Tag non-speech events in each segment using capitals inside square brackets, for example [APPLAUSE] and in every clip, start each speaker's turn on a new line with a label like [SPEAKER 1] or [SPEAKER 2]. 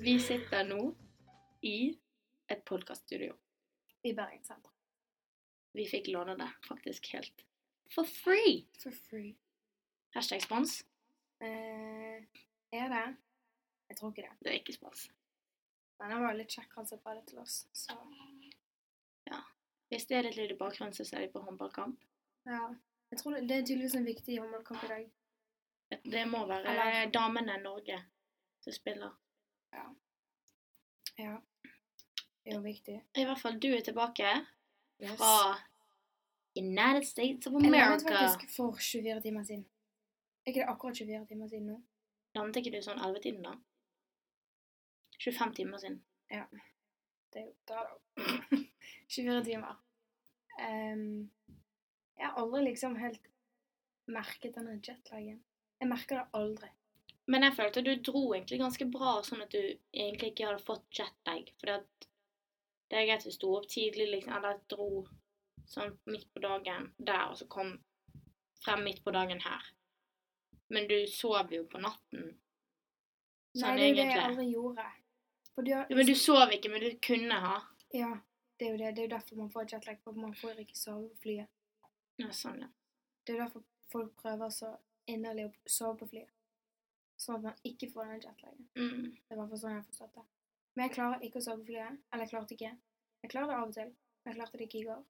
[SPEAKER 1] Vi sitter nå i et podkaststudio.
[SPEAKER 2] I Bergen sentrum.
[SPEAKER 1] Vi fikk låne det faktisk helt for free.
[SPEAKER 2] For free.
[SPEAKER 1] Hashtag spons.
[SPEAKER 2] Eh, er det? Jeg tror ikke det.
[SPEAKER 1] Det er ikke spons.
[SPEAKER 2] Men han var litt kjekk, han som ba det til oss. Så
[SPEAKER 1] Hvis det er litt lyd i bakgrunnen, så ser vi på håndballkamp.
[SPEAKER 2] ja. Jeg tror det, det er tydeligvis en viktig håndballkamp i dag.
[SPEAKER 1] Det må være
[SPEAKER 2] Eller-
[SPEAKER 1] damene Norge som spiller.
[SPEAKER 2] Ja. Det er jo viktig.
[SPEAKER 1] I hvert fall du er tilbake
[SPEAKER 2] Yes.
[SPEAKER 1] fra United States of
[SPEAKER 2] Jeg landet
[SPEAKER 1] America.
[SPEAKER 2] faktisk for 24 timer siden. Er ikke det akkurat 24 timer siden nå?
[SPEAKER 1] Landet ikke du sånn 11-tiden, da? 25 timer siden.
[SPEAKER 2] Det er jo da, da. [LAUGHS] 24 timer. Ehm, jeg har aldri liksom helt merket denne jetlagen. Jeg merker det aldri.
[SPEAKER 1] Men jeg følte du dro egentlig ganske bra, sånn at du egentlig ikke hadde fått jetlag. Fordi at det er greit hvis du sto opp tidlig, liksom, eller dro sånn midt på dagen der, og så kom frem midt på dagen her. Men du sov jo på natten.
[SPEAKER 2] Nei,
[SPEAKER 1] Sånn
[SPEAKER 2] det er jo det jeg
[SPEAKER 1] egentlig.
[SPEAKER 2] aldri gjorde. For du har,
[SPEAKER 1] Ja, men du sov ikke, men du kunne ha.
[SPEAKER 2] Ja, det er jo det. Det er jo derfor man får jetlag, for man får ikke sove på flyet.
[SPEAKER 1] Ja, sånn, ja.
[SPEAKER 2] Det er jo derfor folk prøver så inderlig å sove på flyet. Sånn at man ikke får den jetlagen.
[SPEAKER 1] Mm.
[SPEAKER 2] Det er i hvert fall sånn jeg har forstått det. Men jeg klarer ikke å sove på flyet. Eller jeg klarte ikke. Jeg klarer det av og til. Men jeg klarte det ikke i går.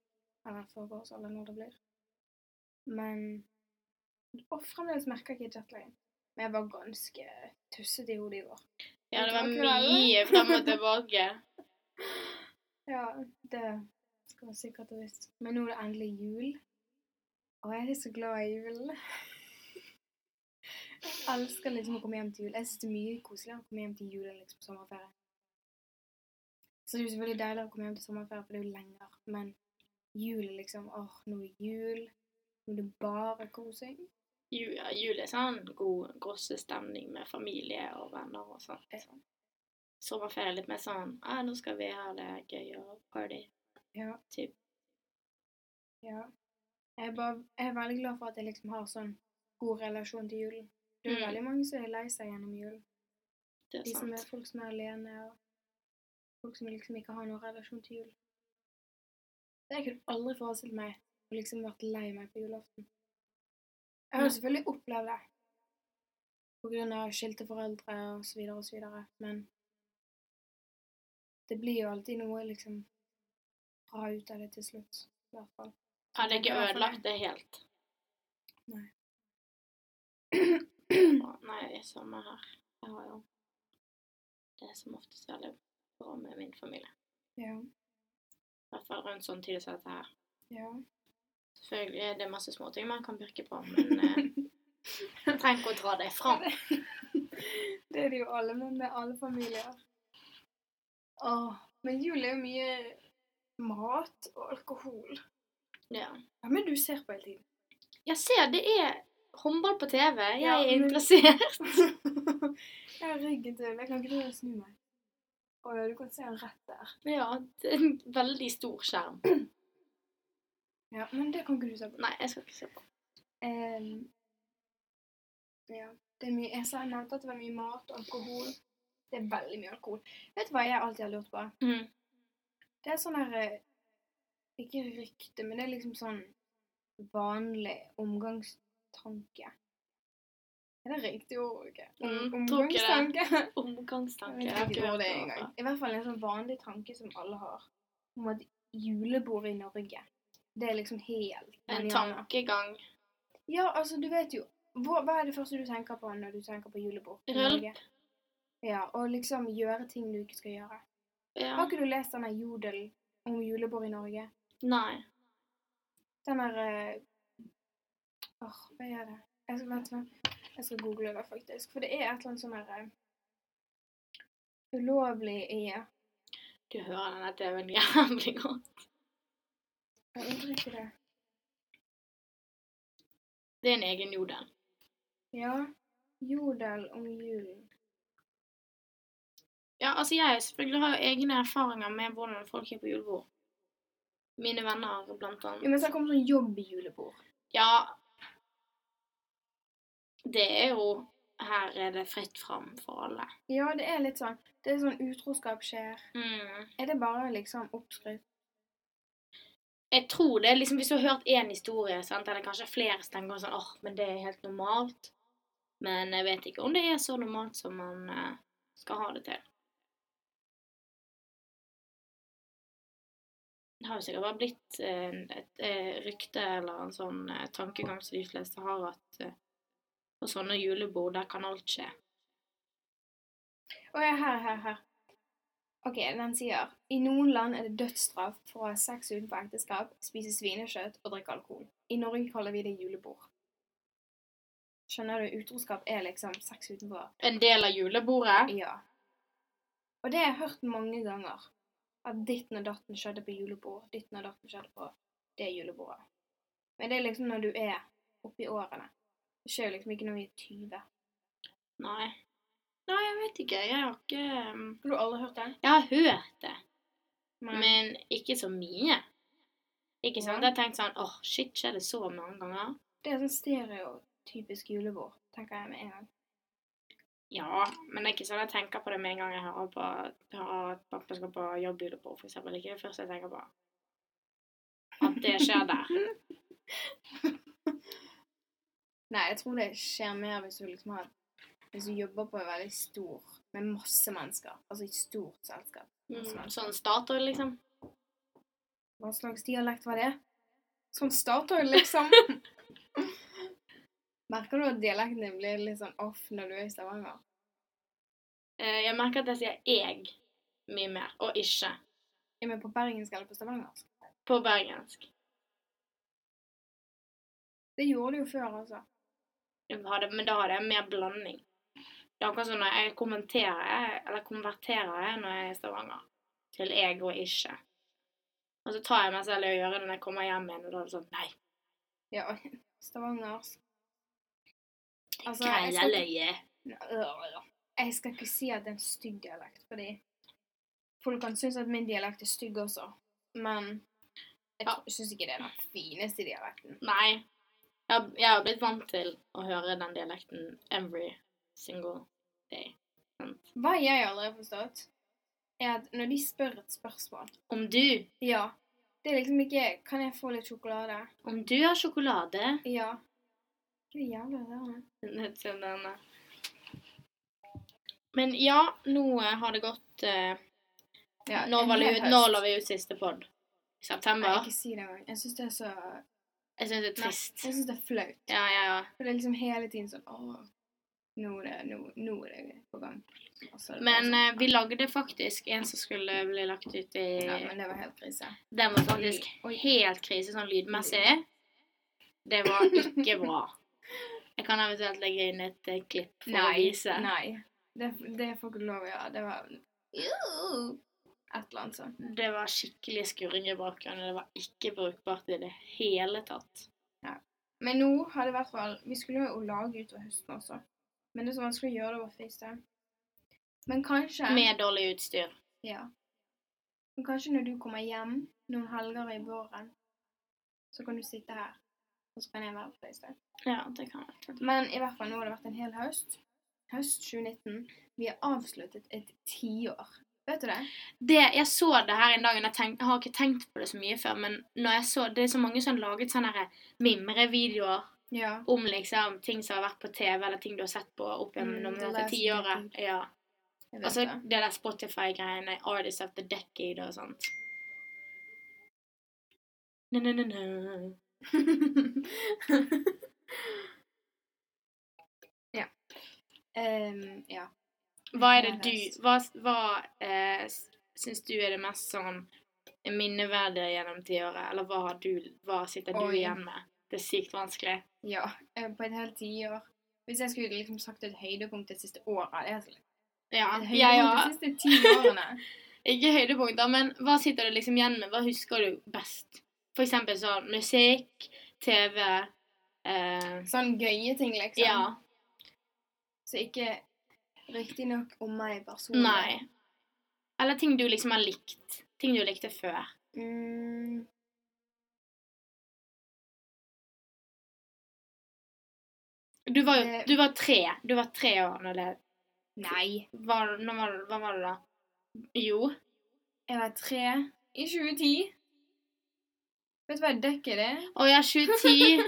[SPEAKER 2] Eller forgårs, eller når det blir. Men Og fremdeles merker jeg ikke jetlagen. Men jeg var ganske tussete i hodet i går.
[SPEAKER 1] ja, det var
[SPEAKER 2] Takk, Laila.
[SPEAKER 1] mye frem og tilbake.
[SPEAKER 2] Ja, det skal man sikkert ha visst. Men nå er det endelig jul. Og jeg er så glad i jul. Jeg elsker liksom å komme hjem til jul. Jeg synes det er mye koseligere å komme hjem til jul enn liksom sommerferie. Så det er jo selvfølgelig deiligere å komme hjem til sommerferie, for det er jo lenger. Men jul er liksom Åh, nå er det jul. Nå er det bare kosing.
[SPEAKER 1] Ju- ja, Jul er sånn god grossestemning med familie og venner og sånt. Sånn. Sommerferie er litt mer sånn ah, 'Nå skal vi ha det gøy og party'.
[SPEAKER 2] Ja.
[SPEAKER 1] Typ.
[SPEAKER 2] Ja. Jeg er, bare, jeg er veldig glad for at jeg liksom har sånn god relasjon til julen. Det er jo
[SPEAKER 1] Mm.
[SPEAKER 2] veldig mange som er lei seg gjennom julen.
[SPEAKER 1] Det er
[SPEAKER 2] De som er
[SPEAKER 1] sant.
[SPEAKER 2] folk som er alene, og folk som liksom ikke har noen relasjon til jul. Så jeg kunne aldri forestilt meg å liksom vært lei meg på julaften. Jeg har jo
[SPEAKER 1] Nei.
[SPEAKER 2] selvfølgelig opplevd det. På grunn av skilte foreldre og så videre og så videre. Men det blir jo alltid noe liksom bra ut av det til slutt. I hvert fall. [CLEARS THROAT]
[SPEAKER 1] Ja, det er ikke
[SPEAKER 2] tenker jeg for
[SPEAKER 1] ødelagt, det helt.
[SPEAKER 2] Nei.
[SPEAKER 1] Å, Nei, det er samme her. Jeg har jo Det er som oftest veldig bra med min familie.
[SPEAKER 2] Ja.
[SPEAKER 1] I hvert fall rundt sånn tid som dette her.
[SPEAKER 2] Ja.
[SPEAKER 1] Selvfølgelig er det masse småting man kan pirke på, men eh,
[SPEAKER 2] [LAUGHS]
[SPEAKER 1] man trenger ikke å dra det fram.
[SPEAKER 2] Det er det jo alle, men det er alle familier. Åh, men jul er jo mye mat og alkohol.
[SPEAKER 1] Ja.
[SPEAKER 2] Ja, men du ser på hele tiden. [LAUGHS]
[SPEAKER 1] Jeg ser det er håndball på TV. Jeg
[SPEAKER 2] Ja,
[SPEAKER 1] er
[SPEAKER 2] men-
[SPEAKER 1] interessert.
[SPEAKER 2] jeg har ryggen til. Jeg kan ikke tro jeg snu meg. Å ja, du kan se den rett der.
[SPEAKER 1] Ja, det er en veldig stor skjerm.
[SPEAKER 2] Ja, men det kan ikke du se på.
[SPEAKER 1] Nei, jeg skal ikke se på.
[SPEAKER 2] Em, ja, det er mye. Jeg sa jeg nevnte at det var mye mat og alkohol. Det er veldig mye alkohol. Vet du hva jeg alltid har lurt på?
[SPEAKER 1] Mm.
[SPEAKER 2] Det er sånn her eh, Ikke rykte, men det er liksom sånn vanlig omgangstanke. Er det riktig ord? Ikke? Om,
[SPEAKER 1] Mm, tror ikke det.
[SPEAKER 2] omgangstanke? Jeg
[SPEAKER 1] Omgangstanke.
[SPEAKER 2] vet
[SPEAKER 1] Jeg har
[SPEAKER 2] ikke
[SPEAKER 1] ikke
[SPEAKER 2] hvor
[SPEAKER 1] hørt
[SPEAKER 2] det
[SPEAKER 1] det
[SPEAKER 2] er engang. I hvert fall en sånn vanlig tanke som alle har, om at julebordet i Norge, det er liksom helt
[SPEAKER 1] En
[SPEAKER 2] manjana.
[SPEAKER 1] tankegang.
[SPEAKER 2] Ja, altså, du vet jo hva, hva er det første du tenker på når du tenker på julebord? i
[SPEAKER 1] Rølp.
[SPEAKER 2] Norge? Ja, og liksom gjøre ting du ikke skal gjøre. Har
[SPEAKER 1] Ja.
[SPEAKER 2] ikke du lest denne Jodel om julebord i Norge?
[SPEAKER 1] Nei.
[SPEAKER 2] Den der eh, Åh, hva er det? Jeg skal, vent, vent. Jeg skal google det, faktisk. For det er et eller annet sånn her eh, Ulovlig i
[SPEAKER 1] Du hører denne TV-en jævlig godt.
[SPEAKER 2] Jeg undrer ikke det.
[SPEAKER 1] Det er en egen jodel.
[SPEAKER 2] Ja. Jodel om julen.
[SPEAKER 1] Ja, altså jeg selvfølgelig har jo egne erfaringer med hvordan folk er på julebord. Mine venner, blant
[SPEAKER 2] Jo, men
[SPEAKER 1] annet.
[SPEAKER 2] så kommer sånn jobb-julebord.
[SPEAKER 1] Ja. Det er jo her er det fritt fram for alle.
[SPEAKER 2] Ja, det er litt sånn Det er sånn utroskap skjer.
[SPEAKER 1] Mm.
[SPEAKER 2] Er det bare liksom oppskrytt?
[SPEAKER 1] Jeg tror det er liksom Hvis du har hørt én historie, sant? eller kanskje flere, så tenker du sånn åh, men det er helt normalt. Men jeg vet ikke om det er så normalt som man eh, skal ha det til. Det har jo sikkert bare blitt eh, et eh, rykte eller en sånn eh, tankegang som de fleste har, at eh, på sånne julebord, der kan alt skje.
[SPEAKER 2] Å ja, her, her, her. OK, den sier I noen land er det dødsstraff for å ha sex utenfor ekteskap, spise svinekjøtt og drikke alkohol. I Norge kaller vi det julebord. Skjønner du? Utroskap er liksom sex utenfor
[SPEAKER 1] En del av julebordet?
[SPEAKER 2] Ja. Og det har jeg hørt mange ganger. At ditten og datten skjedde på julebord. Ditten og datten skjedde på det julebordet. Men det er liksom når du er oppi årene. Det skjer jo liksom ikke når vi er 20.
[SPEAKER 1] Nei. Nei, jeg vet ikke. Jeg har ikke eh,
[SPEAKER 2] Har du aldri hørt den?
[SPEAKER 1] Jeg har hørt det.
[SPEAKER 2] Nei.
[SPEAKER 1] Men ikke så mye. Ikke sant?
[SPEAKER 2] Ja.
[SPEAKER 1] Jeg tenkte sånn åh, shit, skjer det så mange ganger?
[SPEAKER 2] Det er sånn stereotypisk julebord, tenker jeg med en gang.
[SPEAKER 1] Ja, men det er ikke sånn jeg tenker på det med en gang jeg hører på hører at pappa skal på jobbjulebord, f.eks. Det er ikke det første jeg tenker på. At det skjer der.
[SPEAKER 2] Nei, jeg tror det skjer mer hvis du liksom har Hvis du jobber på en veldig stor Med masse mennesker. Altså et stort selskap.
[SPEAKER 1] Mm, sånn Statoil, liksom.
[SPEAKER 2] Hva slags dialekt var det? Sånn Statoil, liksom. Merker du at dialekten din blir litt sånn off når du er i Stavanger?
[SPEAKER 1] Eh, Jeg merker at jeg sier 'eg' mye mer, og 'ikke'
[SPEAKER 2] Er vi på bergensk eller på stavangersk?
[SPEAKER 1] på bergensk.
[SPEAKER 2] Det gjorde du jo før, altså.
[SPEAKER 1] Jeg hadde- Men da hadde jeg mer blanding. Det er akkurat som når jeg kommenterer, eller konverterer jeg når jeg er i Stavanger, til jeg og ikke. Og så tar jeg meg selv i å gjøre det når jeg kommer hjem igjen, og da er det sånn Nei,
[SPEAKER 2] Ja, stavangersk. Altså, jeg
[SPEAKER 1] greie
[SPEAKER 2] skal,
[SPEAKER 1] løye.
[SPEAKER 2] ikke, jeg skal ikke si at det er en stygg dialekt, fordi folk kan synes at min dialekt er stygg også, men jeg
[SPEAKER 1] Ja.
[SPEAKER 2] tr- synes ikke det er den fineste dialekten.
[SPEAKER 1] Nei. Jeg har- jeg har blitt vant til å høre den dialekten every single day.
[SPEAKER 2] Hva jeg aldri har forstått, er at når de spør et spørsmål,
[SPEAKER 1] Om du
[SPEAKER 2] Ja. Det er liksom ikke Kan jeg få litt sjokolade?
[SPEAKER 1] Om du har sjokolade [LAUGHS]
[SPEAKER 2] Ja. Ikke det jævla irriterende?
[SPEAKER 1] Sånn denne. Men ja, nå eh, har det gått eh, Nå var det ut, nå la vi ut siste pod. I
[SPEAKER 2] Nei,
[SPEAKER 1] september.
[SPEAKER 2] ikke si det engang. Jeg syns det er så
[SPEAKER 1] Jeg syns det er
[SPEAKER 2] Nei,
[SPEAKER 1] trist.
[SPEAKER 2] Jeg syns det er flaut.
[SPEAKER 1] Ja, ja, ja.
[SPEAKER 2] For det er liksom hele tiden sånn Å, nå er det, nå, nå er det på gang. Og så er det bare
[SPEAKER 1] Men
[SPEAKER 2] sånn,
[SPEAKER 1] eh, vi lagde faktisk en som skulle bli lagt ut i
[SPEAKER 2] Ja, men det var helt krise.
[SPEAKER 1] Den var faktisk
[SPEAKER 2] Oi.
[SPEAKER 1] helt krise sånn lydmessig. Det var ikke bra. Jeg kan eventuelt legge inn et eh, klipp for å vise.
[SPEAKER 2] Nei. Det, det får ikke du lov å gjøre. Det var Eww. Et eller annet sånt.
[SPEAKER 1] Det var skikkelig skurring i bakgrunnen. Det var ikke brukbart i det hele tatt.
[SPEAKER 2] Men nå har det i hvert fall Vi skulle jo lage utover høsten også. Men det er så vanskelig å gjøre det over FaceTime. Men kanskje
[SPEAKER 1] Med dårlig utstyr.
[SPEAKER 2] Ja. Men kanskje når du kommer hjem noen helger i våren, så kan du sitte her, og så kan jeg være på FaceTime.
[SPEAKER 1] Ja, det kan jeg.
[SPEAKER 2] Men i hvert fall nå har det vært en hel høst. Høst 2019. Vi har avsluttet et tiår. Vet du det?
[SPEAKER 1] det, jeg så det her en dag, og jeg, tenk, jeg har ikke tenkt på det så mye før, men når jeg så, det er så mange som har laget sånne her mimrevideoer
[SPEAKER 2] Ja.
[SPEAKER 1] om liksom ting som har vært på TV, eller ting du har sett på opp gjennom
[SPEAKER 2] Mm,
[SPEAKER 1] mm,
[SPEAKER 2] The
[SPEAKER 1] dette
[SPEAKER 2] Last
[SPEAKER 1] tiåret. Ja.
[SPEAKER 2] Jeg vet
[SPEAKER 1] Altså
[SPEAKER 2] det.
[SPEAKER 1] det der Spotify-greiene, Artists of the Decade og sånt. Na, na, na, na.
[SPEAKER 2] ja. Ehm, ja.
[SPEAKER 1] Hva er det
[SPEAKER 2] Hver høst.
[SPEAKER 1] du Hva, hva eh, s- syns du er det mest sånn minneverdige gjennom tiåret? Eller hva, har du, hva sitter du
[SPEAKER 2] Oi.
[SPEAKER 1] igjen med? Det er sykt vanskelig.
[SPEAKER 2] Ja, eh, på et helt tiår. Hvis jeg skulle liksom sagt et høydepunkt det siste året det er så-
[SPEAKER 1] Ja,
[SPEAKER 2] Et høydepunkt
[SPEAKER 1] jeg òg.
[SPEAKER 2] de siste ti årene.
[SPEAKER 1] Ikke høydepunkter, men hva sitter du liksom igjen med? Hva husker du best? For eksempel sånn musikk, TV eh,
[SPEAKER 2] Sånn gøye ting, liksom.
[SPEAKER 1] Ja.
[SPEAKER 2] Så ikke riktignok om meg personlig.
[SPEAKER 1] Nei. Eller ting du liksom har likt. Ting du likte før.
[SPEAKER 2] Mm.
[SPEAKER 1] Du var, jo-
[SPEAKER 2] Det-
[SPEAKER 1] du var tre. Du var tre år når det
[SPEAKER 2] Nei.
[SPEAKER 1] var, når var, Hva var det da? Jo.
[SPEAKER 2] Jeg var tre i 2010. Vet du hva jeg dekker det?
[SPEAKER 1] Å ja, 2010.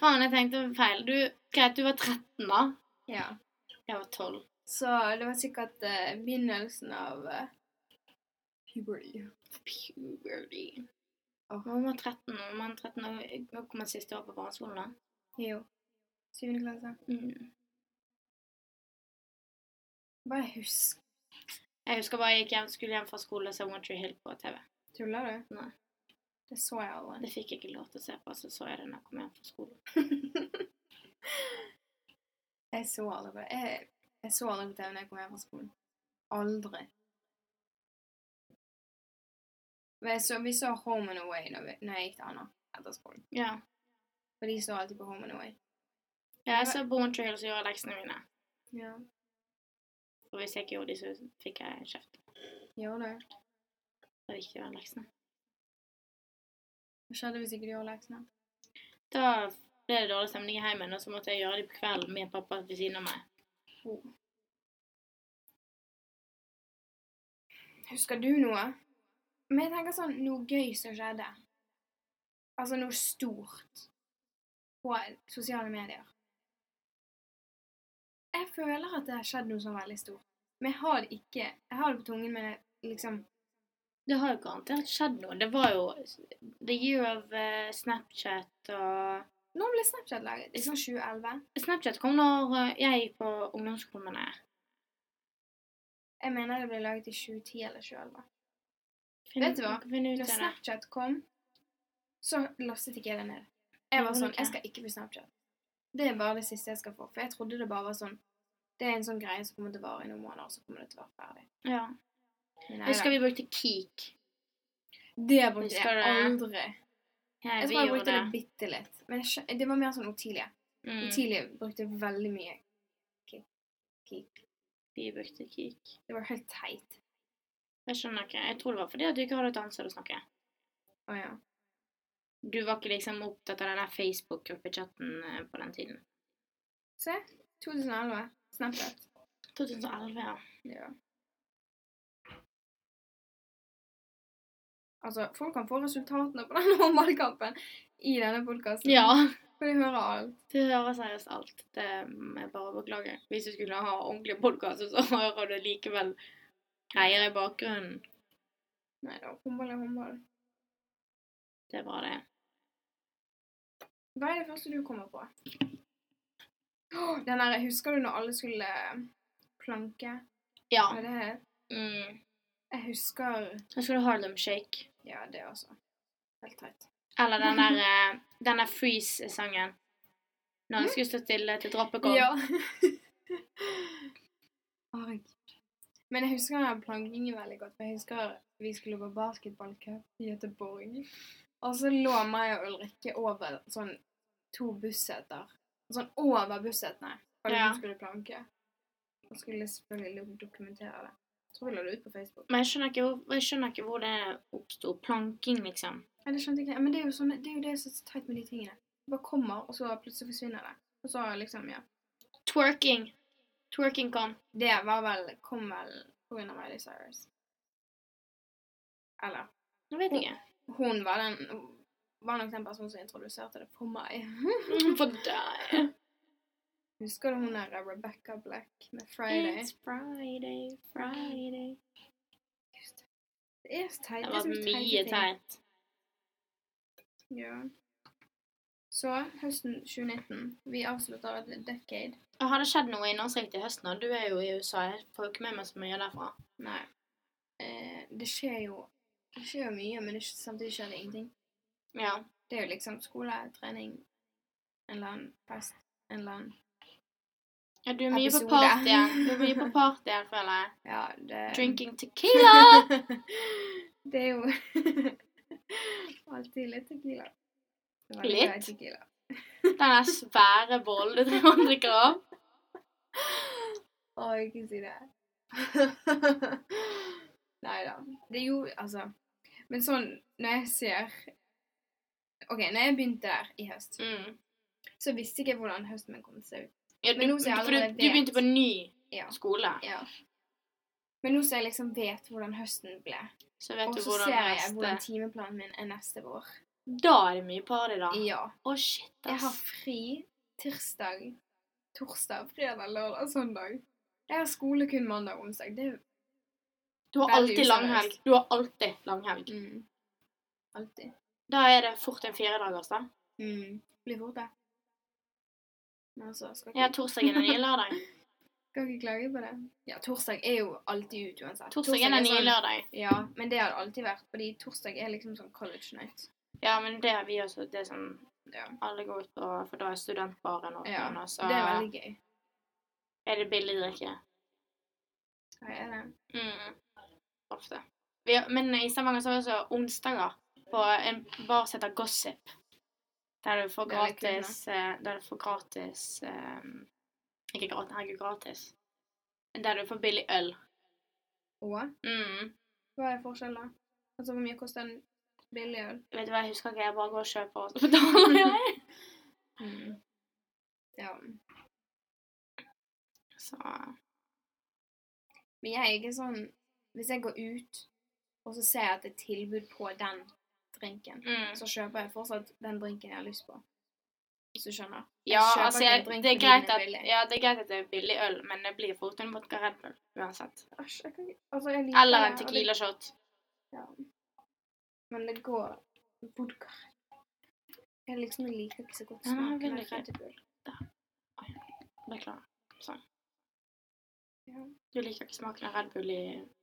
[SPEAKER 1] Faen, jeg tenkte feil. Du, greit, du var 13 da.
[SPEAKER 2] Ja.
[SPEAKER 1] Jeg var 12.
[SPEAKER 2] Så det var sikkert eh, begynnelsen av eh, puberty.
[SPEAKER 1] Puberty.
[SPEAKER 2] Åh.
[SPEAKER 1] Når man var 13, når man var 13 og- og kom man siste år på barneskolen da.
[SPEAKER 2] Jo. Syvende klasse.
[SPEAKER 1] Mm.
[SPEAKER 2] Bare husk.
[SPEAKER 1] Jeg husker bare jeg gikk hjem, skulle hjem fra skole og se One Tree Hill på TV.
[SPEAKER 2] Tuller du?
[SPEAKER 1] Nei.
[SPEAKER 2] Det så jeg aldri.
[SPEAKER 1] Det fikk jeg ikke lov til å se på, så så jeg det når jeg kom hjem fra skolen.
[SPEAKER 2] Jeg så aldri på det. Jeg, jeg så aldri på TV når jeg kom hjem fra skolen. Aldri. Men jeg så, vi så Home and Away da vi, når jeg gikk til Anna etter skolen.
[SPEAKER 1] Ja.
[SPEAKER 2] For de så alltid på Home and Away.
[SPEAKER 1] Ja, jeg så på One Tree Hill og så gjorde jeg leksene mine.
[SPEAKER 2] Ja.
[SPEAKER 1] Og hvis jeg ikke gjorde de, så fikk jeg kjeft.
[SPEAKER 2] Gjør det.
[SPEAKER 1] Det er viktig å gjøre leksene.
[SPEAKER 2] Hva skjedde hvis ikke du gjorde leksene?
[SPEAKER 1] Da ble det dårlig stemning i heimen, og så måtte jeg gjøre de på kvelden med pappa ved siden av meg.
[SPEAKER 2] Husker du noe? Men jeg tenker sånn noe gøy som skjedde. Altså noe stort på sosiale medier. Jeg føler at det har skjedd noe sånn veldig stort. Men jeg har det ikke Jeg har det på tungen, men jeg liksom
[SPEAKER 1] Det har jo garantert skjedd noe. Det var jo the year of eh, Snapchat og
[SPEAKER 2] Nå ble Snapchat laget. Det er sånn 2011.
[SPEAKER 1] Snapchat kom når eh, jeg gikk på ungdomsskolen. mener jeg.
[SPEAKER 2] Jeg mener det ble laget i 2010 eller 2011.
[SPEAKER 1] Finn-
[SPEAKER 2] Vet du hva?
[SPEAKER 1] man kan finne ut av
[SPEAKER 2] Når
[SPEAKER 1] det.
[SPEAKER 2] Snapchat kom, så lastet ikke jeg det ned. Jeg var
[SPEAKER 1] Gjorde du
[SPEAKER 2] sånn
[SPEAKER 1] ikke?
[SPEAKER 2] Jeg skal ikke få Snapchat. Det er bare det siste jeg skal få. For jeg trodde det bare var sånn Det er en sånn greie som kommer til å vare i noen måneder, og så kommer det til å være ferdig.
[SPEAKER 1] Ja.
[SPEAKER 2] Men
[SPEAKER 1] Jeg husker
[SPEAKER 2] neida.
[SPEAKER 1] vi brukte Keek.
[SPEAKER 2] det brukte
[SPEAKER 1] Husker du
[SPEAKER 2] jeg
[SPEAKER 1] det?
[SPEAKER 2] aldri.
[SPEAKER 1] Ja,
[SPEAKER 2] Jeg
[SPEAKER 1] vi
[SPEAKER 2] tror jeg
[SPEAKER 1] gjorde
[SPEAKER 2] brukte det bitte litt. Men jeg, skjø- det var mer sånn Otilie.
[SPEAKER 1] Mm,
[SPEAKER 2] Otilie brukte veldig mye kick. kick.
[SPEAKER 1] vi brukte Keek.
[SPEAKER 2] Det var helt teit.
[SPEAKER 1] Jeg skjønner ikke. Jeg tror det var fordi at du ikke hadde et annet sted å snakke.
[SPEAKER 2] Å ja.
[SPEAKER 1] Du var ikke liksom opptatt av den der Facebook-gruppechatten eh, på den tiden.
[SPEAKER 2] Se. 2011. Snapchat.
[SPEAKER 1] 2011, ja.
[SPEAKER 2] Ja. Altså, folk kan få resultatene på [LAUGHS] denne håndballkampen i denne podkasten.
[SPEAKER 1] Ja. [LAUGHS]
[SPEAKER 2] For de hører alt.
[SPEAKER 1] Du hører seriøst alt. Det må jeg bare beklage. Hvis du skulle ha ordentlig podkast, så [LAUGHS] hører du likevel greier i bakgrunnen.
[SPEAKER 2] Nei da, håndball er håndball.
[SPEAKER 1] Det er bra, det.
[SPEAKER 2] Hva er det første du kommer på? Åh, Den der, Husker du når alle skulle eh, planke?
[SPEAKER 1] Ja.
[SPEAKER 2] Hva er det?
[SPEAKER 1] Mm.
[SPEAKER 2] Jeg husker
[SPEAKER 1] Jeg skulle ha Harlem Shake.
[SPEAKER 2] Ja, det også. Helt teit.
[SPEAKER 1] Eller den der, eh, den der Freeze-sangen. Når jeg skulle stå stille til droppet kom.
[SPEAKER 2] Ja. Herregud. Men jeg husker den plankingen veldig godt. For jeg husker vi skulle på basketballcup i Göteborg. Og så lå meg og Ulrikke over sånn to busseter. Sånn over bussetene. Og
[SPEAKER 1] Ja.
[SPEAKER 2] hun skulle planke. Og skulle selvfølgelig dokumentere det. Jeg tror vi la det ut på Facebook.
[SPEAKER 1] Men jeg skjønner ikke hvor, jeg skjønner ikke hvor det oppsto. Planking, liksom.
[SPEAKER 2] Nei, det skjønte jeg ikke. Men det er jo, sånne, det, er jo det som er så teit med de tingene. Det bare kommer, og så plutselig forsvinner det. Og så liksom, ja.
[SPEAKER 1] Twerking. Twerking kom.
[SPEAKER 2] Det var vel, kom vel på grunn av Miley Cyrus. Eller
[SPEAKER 1] Nå vet jeg ikke.
[SPEAKER 2] Hun var, den, var nok den personen som introduserte det for meg. [LAUGHS]
[SPEAKER 1] For [LAUGHS] deg.
[SPEAKER 2] Husker du hun der Rebecca Black med Friday?
[SPEAKER 1] It's Friday, Friday.
[SPEAKER 2] Det er så teit.
[SPEAKER 1] Det
[SPEAKER 2] er
[SPEAKER 1] var
[SPEAKER 2] så
[SPEAKER 1] mye
[SPEAKER 2] teite ting.
[SPEAKER 1] teit.
[SPEAKER 2] Ja. Så høsten 2019 Vi avslutter et decade.
[SPEAKER 1] Og Har det skjedd noe innholdsrikt i høsten? Og du er jo i USA. Jeg får jo ikke med meg så mye derfra.
[SPEAKER 2] Nei. Eh, det skjer jo Det skjer jo mye, men det, skj- samtidig skjer det ingenting.
[SPEAKER 1] Ja.
[SPEAKER 2] Det er jo liksom skole, trening, en eller annen fest, en eller annen
[SPEAKER 1] ja du er mye
[SPEAKER 2] Episode.
[SPEAKER 1] på partyen. Du er mye på partyen, føler [LAUGHS] jeg.
[SPEAKER 2] Ja, det
[SPEAKER 1] Drinking tequila! [LAUGHS]
[SPEAKER 2] [LAUGHS] det [LAUGHS] er jo alltid litt tequila. Jeg er veldig
[SPEAKER 1] Litt?
[SPEAKER 2] glad i Tequila.
[SPEAKER 1] Den der svære bollen du driver og drikker av.
[SPEAKER 2] Å, ikke si det. [LAUGHS] Nei da. Det er jo Altså Men sånn, når jeg ser OK, når jeg begynte der i høst,
[SPEAKER 1] Mm.
[SPEAKER 2] Så visste ikke jeg hvordan høsten min kom til å se ut.
[SPEAKER 1] Ja,
[SPEAKER 2] Men
[SPEAKER 1] du,
[SPEAKER 2] nå som jeg
[SPEAKER 1] for du, du
[SPEAKER 2] allerede
[SPEAKER 1] begynte på en ny
[SPEAKER 2] Ja.
[SPEAKER 1] skole,
[SPEAKER 2] ja. Men nå som jeg liksom vet hvordan høsten ble,
[SPEAKER 1] så vet
[SPEAKER 2] og
[SPEAKER 1] du
[SPEAKER 2] så
[SPEAKER 1] hvordan
[SPEAKER 2] ser jeg
[SPEAKER 1] neste
[SPEAKER 2] hvordan timeplanen min er neste vår
[SPEAKER 1] Da er det mye party, da. Å,
[SPEAKER 2] Ja.
[SPEAKER 1] shit,
[SPEAKER 2] Jeg har
[SPEAKER 1] ass.
[SPEAKER 2] fri tirsdag, torsdag, fredag, lørdag, søndag. Jeg har skole kun mandag og onsdag. Det er
[SPEAKER 1] Du har
[SPEAKER 2] veldig
[SPEAKER 1] alltid langhelg.
[SPEAKER 2] useriøst.
[SPEAKER 1] Du har alltid langhelg.
[SPEAKER 2] mm, alltid.
[SPEAKER 1] Da er det fort en firedagers, da.
[SPEAKER 2] Mm. Blir fort det. Men altså, skal ikke,
[SPEAKER 1] Ja, torsdagen er nye
[SPEAKER 2] [LAUGHS]
[SPEAKER 1] lørdag.
[SPEAKER 2] skal ikke klage på det. Ja, torsdag er jo alltid ut uansett.
[SPEAKER 1] Torsdagen er nye
[SPEAKER 2] sånn-
[SPEAKER 1] lørdag.
[SPEAKER 2] Ja, men det har det alltid vært, fordi torsdag er liksom sånn college night.
[SPEAKER 1] Ja, men det er vi også. Det er sånn
[SPEAKER 2] Ja.
[SPEAKER 1] alle går ut på, for da er studentbaren åpen,
[SPEAKER 2] Ja,
[SPEAKER 1] og så
[SPEAKER 2] det er veldig gøy.
[SPEAKER 1] er det billig drikke.
[SPEAKER 2] Ja, er det?
[SPEAKER 1] Mm. Ofte. Vi, har- men i Stavanger så er det også onsdager på en bar som heter Gossip. Der du får
[SPEAKER 2] Det er litt kult,
[SPEAKER 1] gratis eh, Der du får gratis eh, Ikke gratis, herregud, gratis. Men Der du får billig øl.
[SPEAKER 2] Og
[SPEAKER 1] Mm.
[SPEAKER 2] hva er forskjellen da? Altså, hvor mye koster en billig øl?
[SPEAKER 1] Vet du hva, jeg husker ikke, jeg bare går og kjøper og så [LAUGHS] betaler jeg.
[SPEAKER 2] Ja.
[SPEAKER 1] Så
[SPEAKER 2] Men jeg er ikke sånn Hvis jeg går ut, og så ser jeg at det er tilbud på den drinken,
[SPEAKER 1] mm.
[SPEAKER 2] så kjøper jeg fortsatt den drinken jeg har lyst på. Hvis du skjønner?
[SPEAKER 1] Ja,
[SPEAKER 2] kjøper
[SPEAKER 1] altså,
[SPEAKER 2] ikke en
[SPEAKER 1] jeg,
[SPEAKER 2] drink
[SPEAKER 1] det, er
[SPEAKER 2] fordi den
[SPEAKER 1] greit
[SPEAKER 2] er
[SPEAKER 1] at,
[SPEAKER 2] billig.
[SPEAKER 1] ja, det er greit at det er billig øl, men det blir fort en vodka Red Bull uansett.
[SPEAKER 2] Æsj, jeg kan ikke altså, jeg liker
[SPEAKER 1] Eller en
[SPEAKER 2] det, og
[SPEAKER 1] Tequila shot.
[SPEAKER 2] Det, ja. Men det går Vodka. Jeg liksom liker ikke så godt
[SPEAKER 1] Nei, men jeg
[SPEAKER 2] smaken
[SPEAKER 1] vil
[SPEAKER 2] av
[SPEAKER 1] ikke.
[SPEAKER 2] Red Bull.
[SPEAKER 1] Beklager. Sånn.
[SPEAKER 2] Ja.
[SPEAKER 1] Du liker ikke smaken av Red Bull i,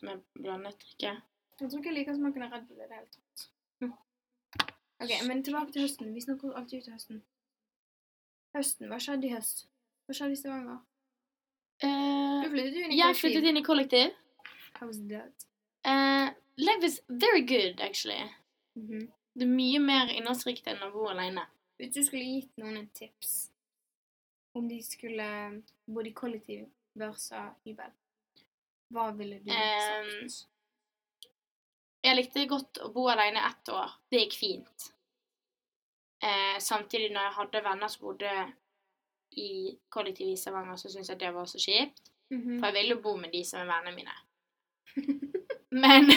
[SPEAKER 1] med blandet drikke?
[SPEAKER 2] Jeg tror ikke jeg liker smaken av Red Bull i det hele tatt.
[SPEAKER 1] Hm.
[SPEAKER 2] Ok, men tilbake til høsten. Vi snakker alltid ut til høsten. Høsten, Hva skjedde i høst? Hva skjedde i Stavanger? Du flyttet jo inn i
[SPEAKER 1] Eh, jeg flyttet inn i kollektiv.
[SPEAKER 2] I was dead.
[SPEAKER 1] Eh, life is very good, actually.
[SPEAKER 2] Mhm.
[SPEAKER 1] Det er mye mer innholdsrikt enn å bo alene.
[SPEAKER 2] Hvis du skulle gitt noen et tips om de skulle bodd i kollektiv versus hybel, hva ville du
[SPEAKER 1] Ehm,
[SPEAKER 2] sagt?
[SPEAKER 1] Jeg likte godt å bo alene ett år. Det gikk fint. Eh, samtidig, når jeg hadde venner som bodde i kollektiv i Stavanger, så syntes jeg det var så kjipt.
[SPEAKER 2] Mhm.
[SPEAKER 1] For jeg ville jo bo med de som er vennene mine. [LAUGHS] Men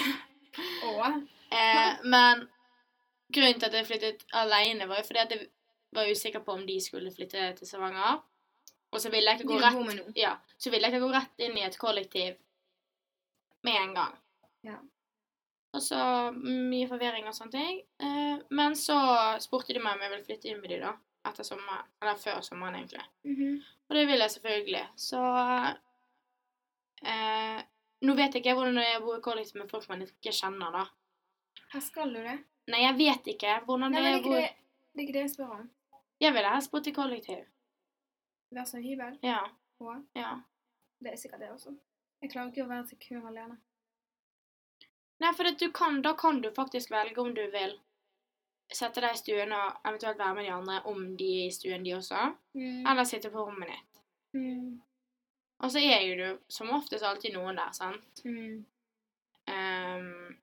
[SPEAKER 2] Og
[SPEAKER 1] Eh, men grunnen til at jeg flyttet alene, var jo fordi at jeg var usikker på om de skulle flytte til Stavanger. Og så ville jeg ikke
[SPEAKER 2] de
[SPEAKER 1] gå
[SPEAKER 2] du bor
[SPEAKER 1] rett,
[SPEAKER 2] med nå.
[SPEAKER 1] ja, så ville jeg ikke gå rett inn i et kollektiv med en gang.
[SPEAKER 2] Ja.
[SPEAKER 1] Og så mye forvirring og sånne ting. Eh, men så spurte de meg om jeg ville flytte inn med de da, etter sommeren, eller før sommeren egentlig.
[SPEAKER 2] Mhm.
[SPEAKER 1] Og det vil jeg selvfølgelig. Så eh, Nå vet jeg ikke hvordan det er å bo i kollektiv med folk man ikke kjenner, da.
[SPEAKER 2] Her skal du det?
[SPEAKER 1] Nei, jeg vet ikke hvordan
[SPEAKER 2] Nei,
[SPEAKER 1] det
[SPEAKER 2] men det er
[SPEAKER 1] er.
[SPEAKER 2] ikke
[SPEAKER 1] Hvor...
[SPEAKER 2] det, det, er ikke det jeg spør om.
[SPEAKER 1] Jeg ville helst bodd i kollektiv.
[SPEAKER 2] Versus hybel.
[SPEAKER 1] Ja.
[SPEAKER 2] Og
[SPEAKER 1] ja.
[SPEAKER 2] det er sikkert det også. Jeg klarer ikke å være til kur alene.
[SPEAKER 1] Nei, for at du kan, da kan du faktisk velge om du vil sette deg i stuen og eventuelt være med de andre om de er i stuen, de også. Eller sitte på rommet ditt.
[SPEAKER 2] Mm.
[SPEAKER 1] Og så er jo du som oftest alltid noen der, sant?
[SPEAKER 2] Mm.
[SPEAKER 1] Ehm,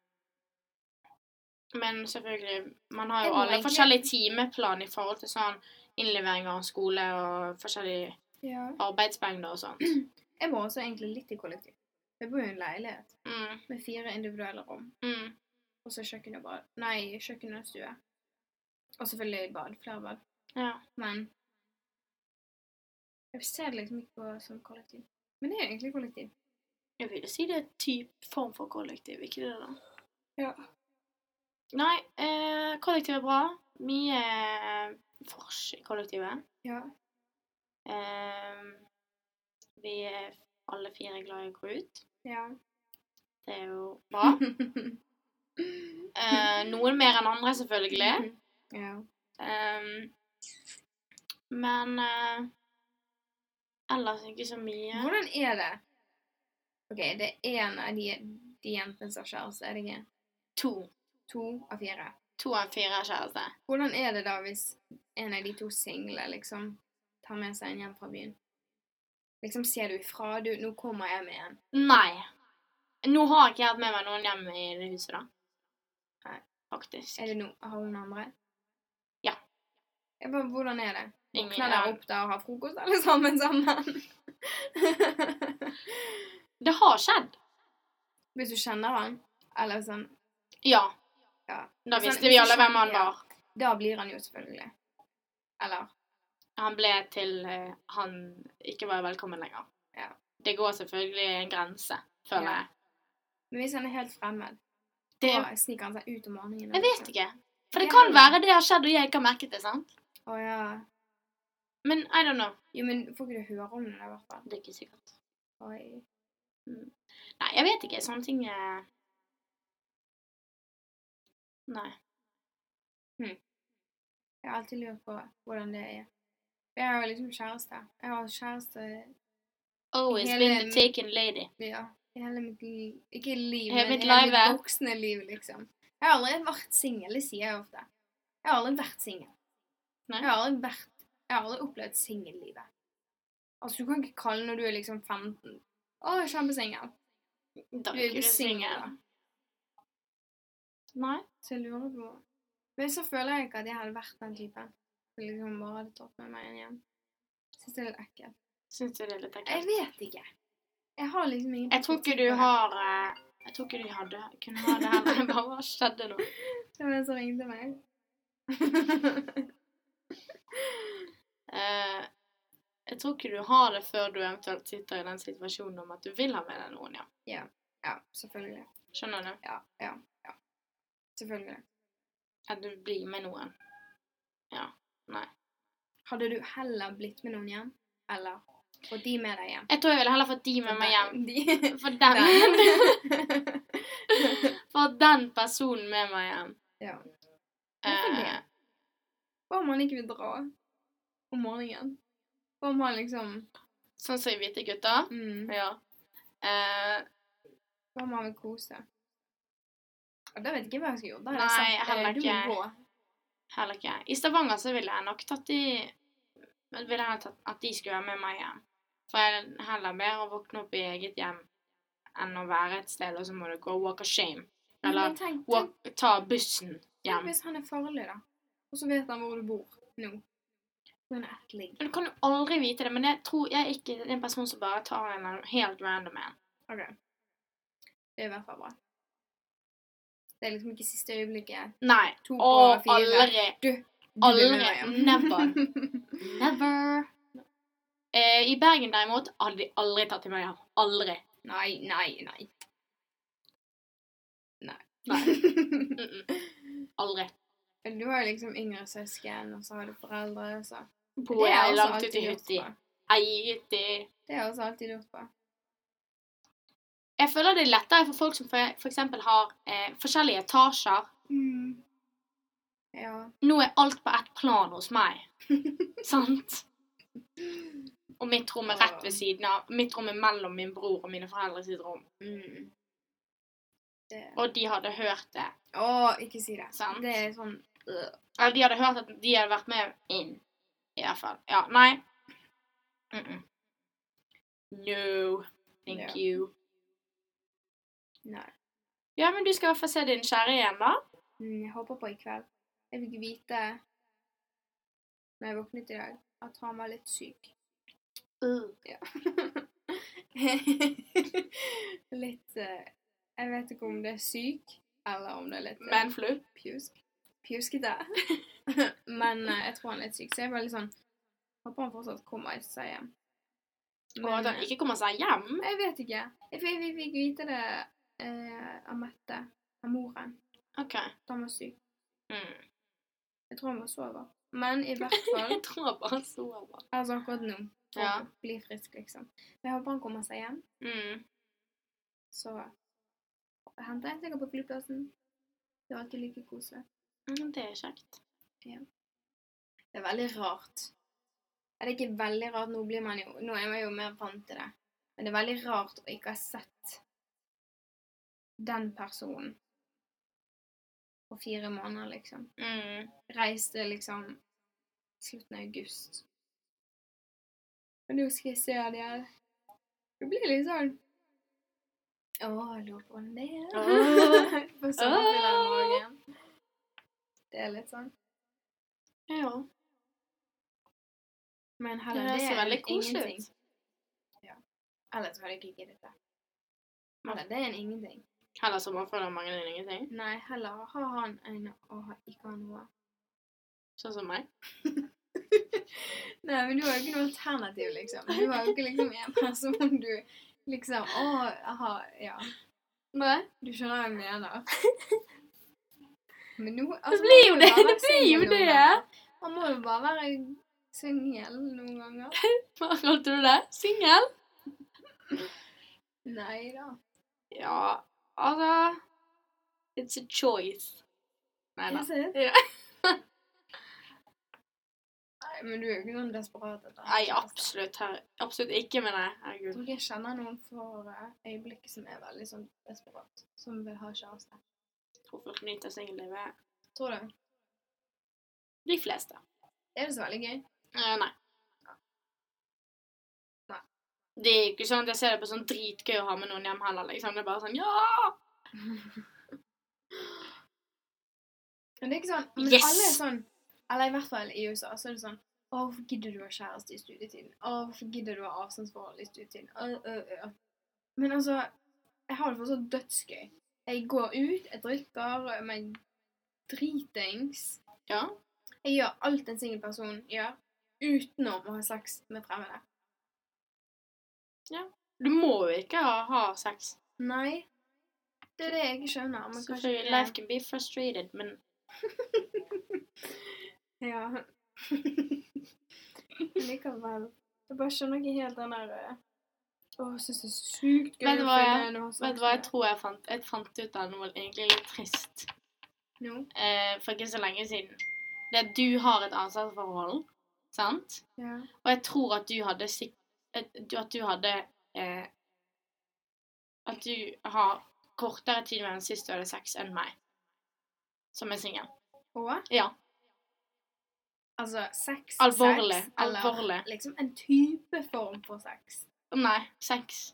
[SPEAKER 1] men selvfølgelig Man har
[SPEAKER 2] Jeg
[SPEAKER 1] jo
[SPEAKER 2] må
[SPEAKER 1] alle
[SPEAKER 2] egentlig-
[SPEAKER 1] forskjellige timeplan i forhold til sånn innleveringer av skole og forskjellige
[SPEAKER 2] Ja.
[SPEAKER 1] arbeidsmengder og sånt.
[SPEAKER 2] Jeg bor også egentlig litt i kollektiv. Jeg bor i en leilighet
[SPEAKER 1] Mm,
[SPEAKER 2] med fire individuelle rom.
[SPEAKER 1] mm.
[SPEAKER 2] Og så kjøkken og bad. Nei, kjøkken og stue. Og selvfølgelig bad. Flere bad.
[SPEAKER 1] Ja.
[SPEAKER 2] Men jeg ser det liksom ikke på som kollektiv. Men det er jo egentlig kollektiv.
[SPEAKER 1] Jeg vil jo si det er typ form for kollektiv, ikke det da?
[SPEAKER 2] Ja.
[SPEAKER 1] Nei, eh, kollektiv er bra. Mye eh, fors i kollektivet.
[SPEAKER 2] Ja.
[SPEAKER 1] Eh, vi er alle fire glad i å gå ut.
[SPEAKER 2] Ja.
[SPEAKER 1] Det er jo bra.
[SPEAKER 2] [LAUGHS]
[SPEAKER 1] Eh, noen mer enn andre, selvfølgelig.
[SPEAKER 2] Mhm. ja.
[SPEAKER 1] Eh, men eh, ellers ikke så mye.
[SPEAKER 2] Hvordan er det? OK, det er én av de, de jentene som har kjæreste, er det ikke?
[SPEAKER 1] To.
[SPEAKER 2] To av fire.
[SPEAKER 1] To av fire er kjæreste.
[SPEAKER 2] Hvordan er det da hvis en av de to single liksom tar med seg en hjem fra byen? Liksom sier du ifra, du, nå kommer jeg med en.
[SPEAKER 1] Nei. Nå har ikke jeg hatt med meg noen hjem i det huset, da.
[SPEAKER 2] Nei.
[SPEAKER 1] Faktisk.
[SPEAKER 2] Er det no, har hun andre?
[SPEAKER 1] Ja.
[SPEAKER 2] Jeg bare, hvordan er det?
[SPEAKER 1] Ingen-
[SPEAKER 2] Våkner
[SPEAKER 1] ja.
[SPEAKER 2] der opp der og har frokost alle sammen sammen.
[SPEAKER 1] Det har skjedd.
[SPEAKER 2] Hvis du kjenner han, eller sånn
[SPEAKER 1] Ja.
[SPEAKER 2] Ja.
[SPEAKER 1] Da
[SPEAKER 2] Sånn,
[SPEAKER 1] visste
[SPEAKER 2] hvis
[SPEAKER 1] vi
[SPEAKER 2] du
[SPEAKER 1] alle hvem han
[SPEAKER 2] skjønner, ja.
[SPEAKER 1] var.
[SPEAKER 2] Da blir han jo selvfølgelig Eller
[SPEAKER 1] Han ble til eh, han ikke var velkommen lenger.
[SPEAKER 2] Ja.
[SPEAKER 1] Det går selvfølgelig en grense, føler
[SPEAKER 2] Ja.
[SPEAKER 1] jeg.
[SPEAKER 2] Men hvis han er helt fremmed,
[SPEAKER 1] Det,
[SPEAKER 2] da sniker han seg ut om morgenen.
[SPEAKER 1] jeg vet ikke. For det
[SPEAKER 2] Ja,
[SPEAKER 1] kan
[SPEAKER 2] men-
[SPEAKER 1] være det har skjedd og jeg ikke har merket det, sant?
[SPEAKER 2] Å ja.
[SPEAKER 1] Men I don't know.
[SPEAKER 2] Jo, men får ikke du høre om det, i hvert fall.
[SPEAKER 1] Det er ikke sikkert.
[SPEAKER 2] Oi.
[SPEAKER 1] Nei, jeg vet ikke. Sånne ting eh, Nei.
[SPEAKER 2] Jeg har alltid lurt på hvordan det er. Jeg har jo liksom kjæreste. Jeg har kjæreste
[SPEAKER 1] Always
[SPEAKER 2] Hele-
[SPEAKER 1] Oh, been the taken lady.
[SPEAKER 2] ja, i hele mitt liv. Ikke liv,
[SPEAKER 1] Hele
[SPEAKER 2] men
[SPEAKER 1] mitt
[SPEAKER 2] i hele
[SPEAKER 1] livet.
[SPEAKER 2] mitt voksne liv, liksom. Jeg har aldri vært singel, det sier jeg ofte. Jeg har aldri vært singel.
[SPEAKER 1] Nei.
[SPEAKER 2] Jeg har aldri vært Jeg har aldri opplevd singellivet. Altså, du kan ikke kalle når du er liksom 15 Å, jeg er kjempesingel.
[SPEAKER 1] Da
[SPEAKER 2] Du
[SPEAKER 1] er
[SPEAKER 2] er
[SPEAKER 1] ikke
[SPEAKER 2] ikke
[SPEAKER 1] du
[SPEAKER 2] singel, da.
[SPEAKER 1] singel. Nei.
[SPEAKER 2] Så jeg lurer på Men så føler jeg ikke at jeg hadde vært den typen. Som liksom bare hadde tatt med meg inn igjen. Syns det er litt ekkelt.
[SPEAKER 1] Syns du det er litt
[SPEAKER 2] Jeg
[SPEAKER 1] ekkelt?
[SPEAKER 2] vet ikke. Jeg har liksom ingen
[SPEAKER 1] Jeg tror ikke du har eh, Jeg tror ikke du hadde, kunne ha det heller. [LAUGHS] Det bare skjedde noe.
[SPEAKER 2] Det var en som ringte meg.
[SPEAKER 1] Eh, jeg tror ikke du har det før du eventuelt sitter i den situasjonen om at du vil ha med deg noen, ja.
[SPEAKER 2] ja, selvfølgelig.
[SPEAKER 1] Skjønner du?
[SPEAKER 2] Ja, ja, ja. Selvfølgelig.
[SPEAKER 1] At du blir med noen.
[SPEAKER 2] Hadde du heller blitt med noen hjem, eller fått de med deg hjem?
[SPEAKER 1] Jeg tror jeg ville heller fått de med meg
[SPEAKER 2] [LAUGHS]
[SPEAKER 1] hjem.
[SPEAKER 2] De.
[SPEAKER 1] [LAUGHS] For
[SPEAKER 2] [LAUGHS]
[SPEAKER 1] den,
[SPEAKER 2] Der.
[SPEAKER 1] for den personen med meg hjem.
[SPEAKER 2] ja. Hvorfor det?
[SPEAKER 1] Eh,
[SPEAKER 2] [LAUGHS] Hva om han ikke vil dra om morgenen? Hva om han liksom
[SPEAKER 1] sånn som i Hvite gutter.
[SPEAKER 2] mm,
[SPEAKER 1] Ja. Eh,
[SPEAKER 2] Hva om han vil kose? Ja, Da vet jeg ikke hva jeg skal gjøre. Da
[SPEAKER 1] Nei,
[SPEAKER 2] hadde jeg sagt,
[SPEAKER 1] heller
[SPEAKER 2] eh, du må
[SPEAKER 1] ikke.
[SPEAKER 2] gå.
[SPEAKER 1] heller ikke. I Stavanger så ville jeg nok tatt de Ville jeg tatt at de skulle være med meg hjem. For jeg er heller bedre å våkne opp i eget hjem enn å være et sted, og så må du gå walk of shame.
[SPEAKER 2] Men
[SPEAKER 1] Eller
[SPEAKER 2] tenk- tenk-
[SPEAKER 1] Walk, ta bussen
[SPEAKER 2] Tenk
[SPEAKER 1] hjem.
[SPEAKER 2] hvis han er farlig, da. Og så vet han hvor du bor nå. Sånn På en ettling.
[SPEAKER 1] Men Du kan jo aldri vite det, men jeg tror jeg er ikke en person som bare tar en eller annen helt random en.
[SPEAKER 2] Ok. Det er i hvert fall bra. Det er liksom ikke siste øyeblikket.
[SPEAKER 1] Nei.
[SPEAKER 2] To
[SPEAKER 1] Å,
[SPEAKER 2] på fire.
[SPEAKER 1] aldri.
[SPEAKER 2] Du blir med
[SPEAKER 1] aldri.
[SPEAKER 2] meg hjem.
[SPEAKER 1] [LAUGHS] Never. Eh, I Bergen derimot hadde de aldri tatt til meg hjem. Aldri.
[SPEAKER 2] nei, nei, nei.
[SPEAKER 1] Nei. Mm -mm. Aldri.
[SPEAKER 2] [LAUGHS] Men du har jo liksom yngre søsken, og så har du foreldre. Så.
[SPEAKER 1] Bor
[SPEAKER 2] har
[SPEAKER 1] jeg
[SPEAKER 2] også
[SPEAKER 1] langt
[SPEAKER 2] alltid
[SPEAKER 1] ut i
[SPEAKER 2] lurt
[SPEAKER 1] hytti.
[SPEAKER 2] på.
[SPEAKER 1] Eiti.
[SPEAKER 2] Det har jeg også alltid lurt på.
[SPEAKER 1] Jeg føler det er lettere for folk som for for eksempel har eh, forskjellige etasjer. Mm.
[SPEAKER 2] Ja.
[SPEAKER 1] Nå er alt på ett plan hos meg. Sant? Og mitt rom er rett ved siden av. Mitt rom er mellom min bror og mine foreldre sitt rom.
[SPEAKER 2] Mm. Det.
[SPEAKER 1] Og de hadde hørt det.
[SPEAKER 2] Å, ikke si det.
[SPEAKER 1] Sant.
[SPEAKER 2] Det er sånn øh.
[SPEAKER 1] Eller de hadde hørt at de hadde vært med inn. I hvert fall. Ja, nei. Mm -mm. No. Thank
[SPEAKER 2] Ja.
[SPEAKER 1] you.
[SPEAKER 2] Nei.
[SPEAKER 1] Ja, men du skal i hvert fall se din kjære igjen, da.
[SPEAKER 2] Mm, jeg håper på i kveld. Jeg fikk vite når jeg våknet i dag, at han var litt syk. [LAUGHS] litt eh, Jeg vet ikke om det er syk, eller om det er litt eh,
[SPEAKER 1] Men flu.
[SPEAKER 2] pjusk. Pjuskete. [LAUGHS] Men eh, jeg tror han er litt syk, så jeg bare litt sånn Håper han fortsatt kommer seg hjem.
[SPEAKER 1] Og at han
[SPEAKER 2] eh,
[SPEAKER 1] ikke kommer seg hjem.
[SPEAKER 2] jeg vet ikke. Jeg fikk, vi fikk vite det eh, av Mette, av moren,
[SPEAKER 1] OK.
[SPEAKER 2] at han var syk.
[SPEAKER 1] Mm.
[SPEAKER 2] Jeg tror han var sover. Men i hvert fall [LAUGHS]
[SPEAKER 1] Jeg tror han bare sover.
[SPEAKER 2] Altså akkurat nå. For
[SPEAKER 1] Ja.
[SPEAKER 2] å bli frisk, liksom. Men jeg håper han kommer seg hjem.
[SPEAKER 1] Mm.
[SPEAKER 2] Så henter jeg sikkert på flyplassen. Det er alltid like koselig.
[SPEAKER 1] Mm, Det er kjekt.
[SPEAKER 2] Det er veldig rart. Er det ikke veldig rart? Nå, blir man jo, nå er man jo mer vant til det. Men det er veldig rart å ikke ha sett den personen på fire måneder, liksom.
[SPEAKER 1] Mm.
[SPEAKER 2] Reiste liksom slutten av august. Og nå skal jeg se de her. Det blir litt sånn Å, jeg lurer på hvordan det er. [LAUGHS] På sommerfugler i magen. Det er litt sånn.
[SPEAKER 1] Ja.
[SPEAKER 2] Men heller
[SPEAKER 3] Det
[SPEAKER 2] det,
[SPEAKER 3] høres jo
[SPEAKER 2] enn
[SPEAKER 3] veldig koselig ut.
[SPEAKER 2] ingenting. Ja. Ellers hadde jeg ikke giddet det. Heller det enn ingenting.
[SPEAKER 1] Heller sommerfugler mangler enn ingenting.
[SPEAKER 2] Nei, heller har han en og har ikke han noe.
[SPEAKER 1] Sånn som meg.
[SPEAKER 2] Nei, men du har jo ikke noe alternativ, liksom. Du har jo ikke liksom en person du liksom Å, aha, ja.
[SPEAKER 3] Nei.
[SPEAKER 2] Du skjønner hva jeg mener. Men nå
[SPEAKER 3] Det
[SPEAKER 2] altså,
[SPEAKER 3] blir jo
[SPEAKER 2] må
[SPEAKER 3] det!
[SPEAKER 2] bare
[SPEAKER 3] Det blir jo
[SPEAKER 2] være
[SPEAKER 3] det!
[SPEAKER 2] singel noen ganger. Man må jo bare være singel noen ganger.
[SPEAKER 3] Hva kalte du det? Singel?
[SPEAKER 2] Nei da.
[SPEAKER 3] Ja, altså It's a choice. Nei da.
[SPEAKER 2] Is it?
[SPEAKER 3] Ja.
[SPEAKER 2] [LAUGHS] Nei, men du er jo ikke sånn desperat etter
[SPEAKER 1] Nei, absolutt, her. absolutt ikke, mener jeg. Herregud.
[SPEAKER 2] Jeg tror ikke jeg kjenner noen for eh, øyeblikket som er veldig sånn desperat, som vil ha kjæreste.
[SPEAKER 1] Jeg tror folk nyter singellivet.
[SPEAKER 2] Tror du?
[SPEAKER 1] De fleste.
[SPEAKER 2] Er det så veldig gøy?
[SPEAKER 1] Eh, nei.
[SPEAKER 2] Nei.
[SPEAKER 1] Det er ikke sånn at jeg ser det på sånn dritgøy å ha med noen hjem heller, liksom. Det er bare sånn ja!
[SPEAKER 2] Men det er ikke sånn Men
[SPEAKER 1] Yes!
[SPEAKER 2] alle er sånn Eller i hvert fall i USA så er det sånn Å, hvorfor gidder du å ha kjæreste i studietiden? Å, hvorfor gidder du å ha avstandsforhold i studietiden? Øh, øh, øh. Men altså Jeg har det fortsatt dødsgøy. Jeg går ut, jeg drikker meg dritings.
[SPEAKER 1] Ja.
[SPEAKER 2] Jeg gjør alt en singel person gjør, utenom å ha sex med fremmede.
[SPEAKER 1] Du må jo ikke ha, ha sex.
[SPEAKER 2] Nei. Det er det jeg ikke skjønner. Men kanskje
[SPEAKER 1] Selvfølgelig,
[SPEAKER 2] det-
[SPEAKER 1] Life can be frustrated, men
[SPEAKER 2] Ja. [LAUGHS] Likevel. Jeg bare skjønner ikke helt den der eh, Å, jeg syns det er sykt gøy
[SPEAKER 1] Vet du hva jeg-
[SPEAKER 2] en å ha sex
[SPEAKER 1] vet du hva jeg
[SPEAKER 2] med.
[SPEAKER 1] tror jeg fant? Jeg fant ut av noe egentlig litt trist
[SPEAKER 2] Nå?
[SPEAKER 1] eh, for ikke så lenge siden. Det er at du har et ansvarsforhold, sant?
[SPEAKER 2] Ja.
[SPEAKER 1] Og jeg tror at du hadde sik- at du- At du hadde eh, At du har kortere tid mellom sist du hadde sex enn meg. Som er singel.
[SPEAKER 2] Og
[SPEAKER 1] Ja.
[SPEAKER 2] altså sex
[SPEAKER 1] Alvorlig.
[SPEAKER 2] Sex, eller
[SPEAKER 1] Alvorlig.
[SPEAKER 2] liksom en type form for sex.
[SPEAKER 1] Nei, sex.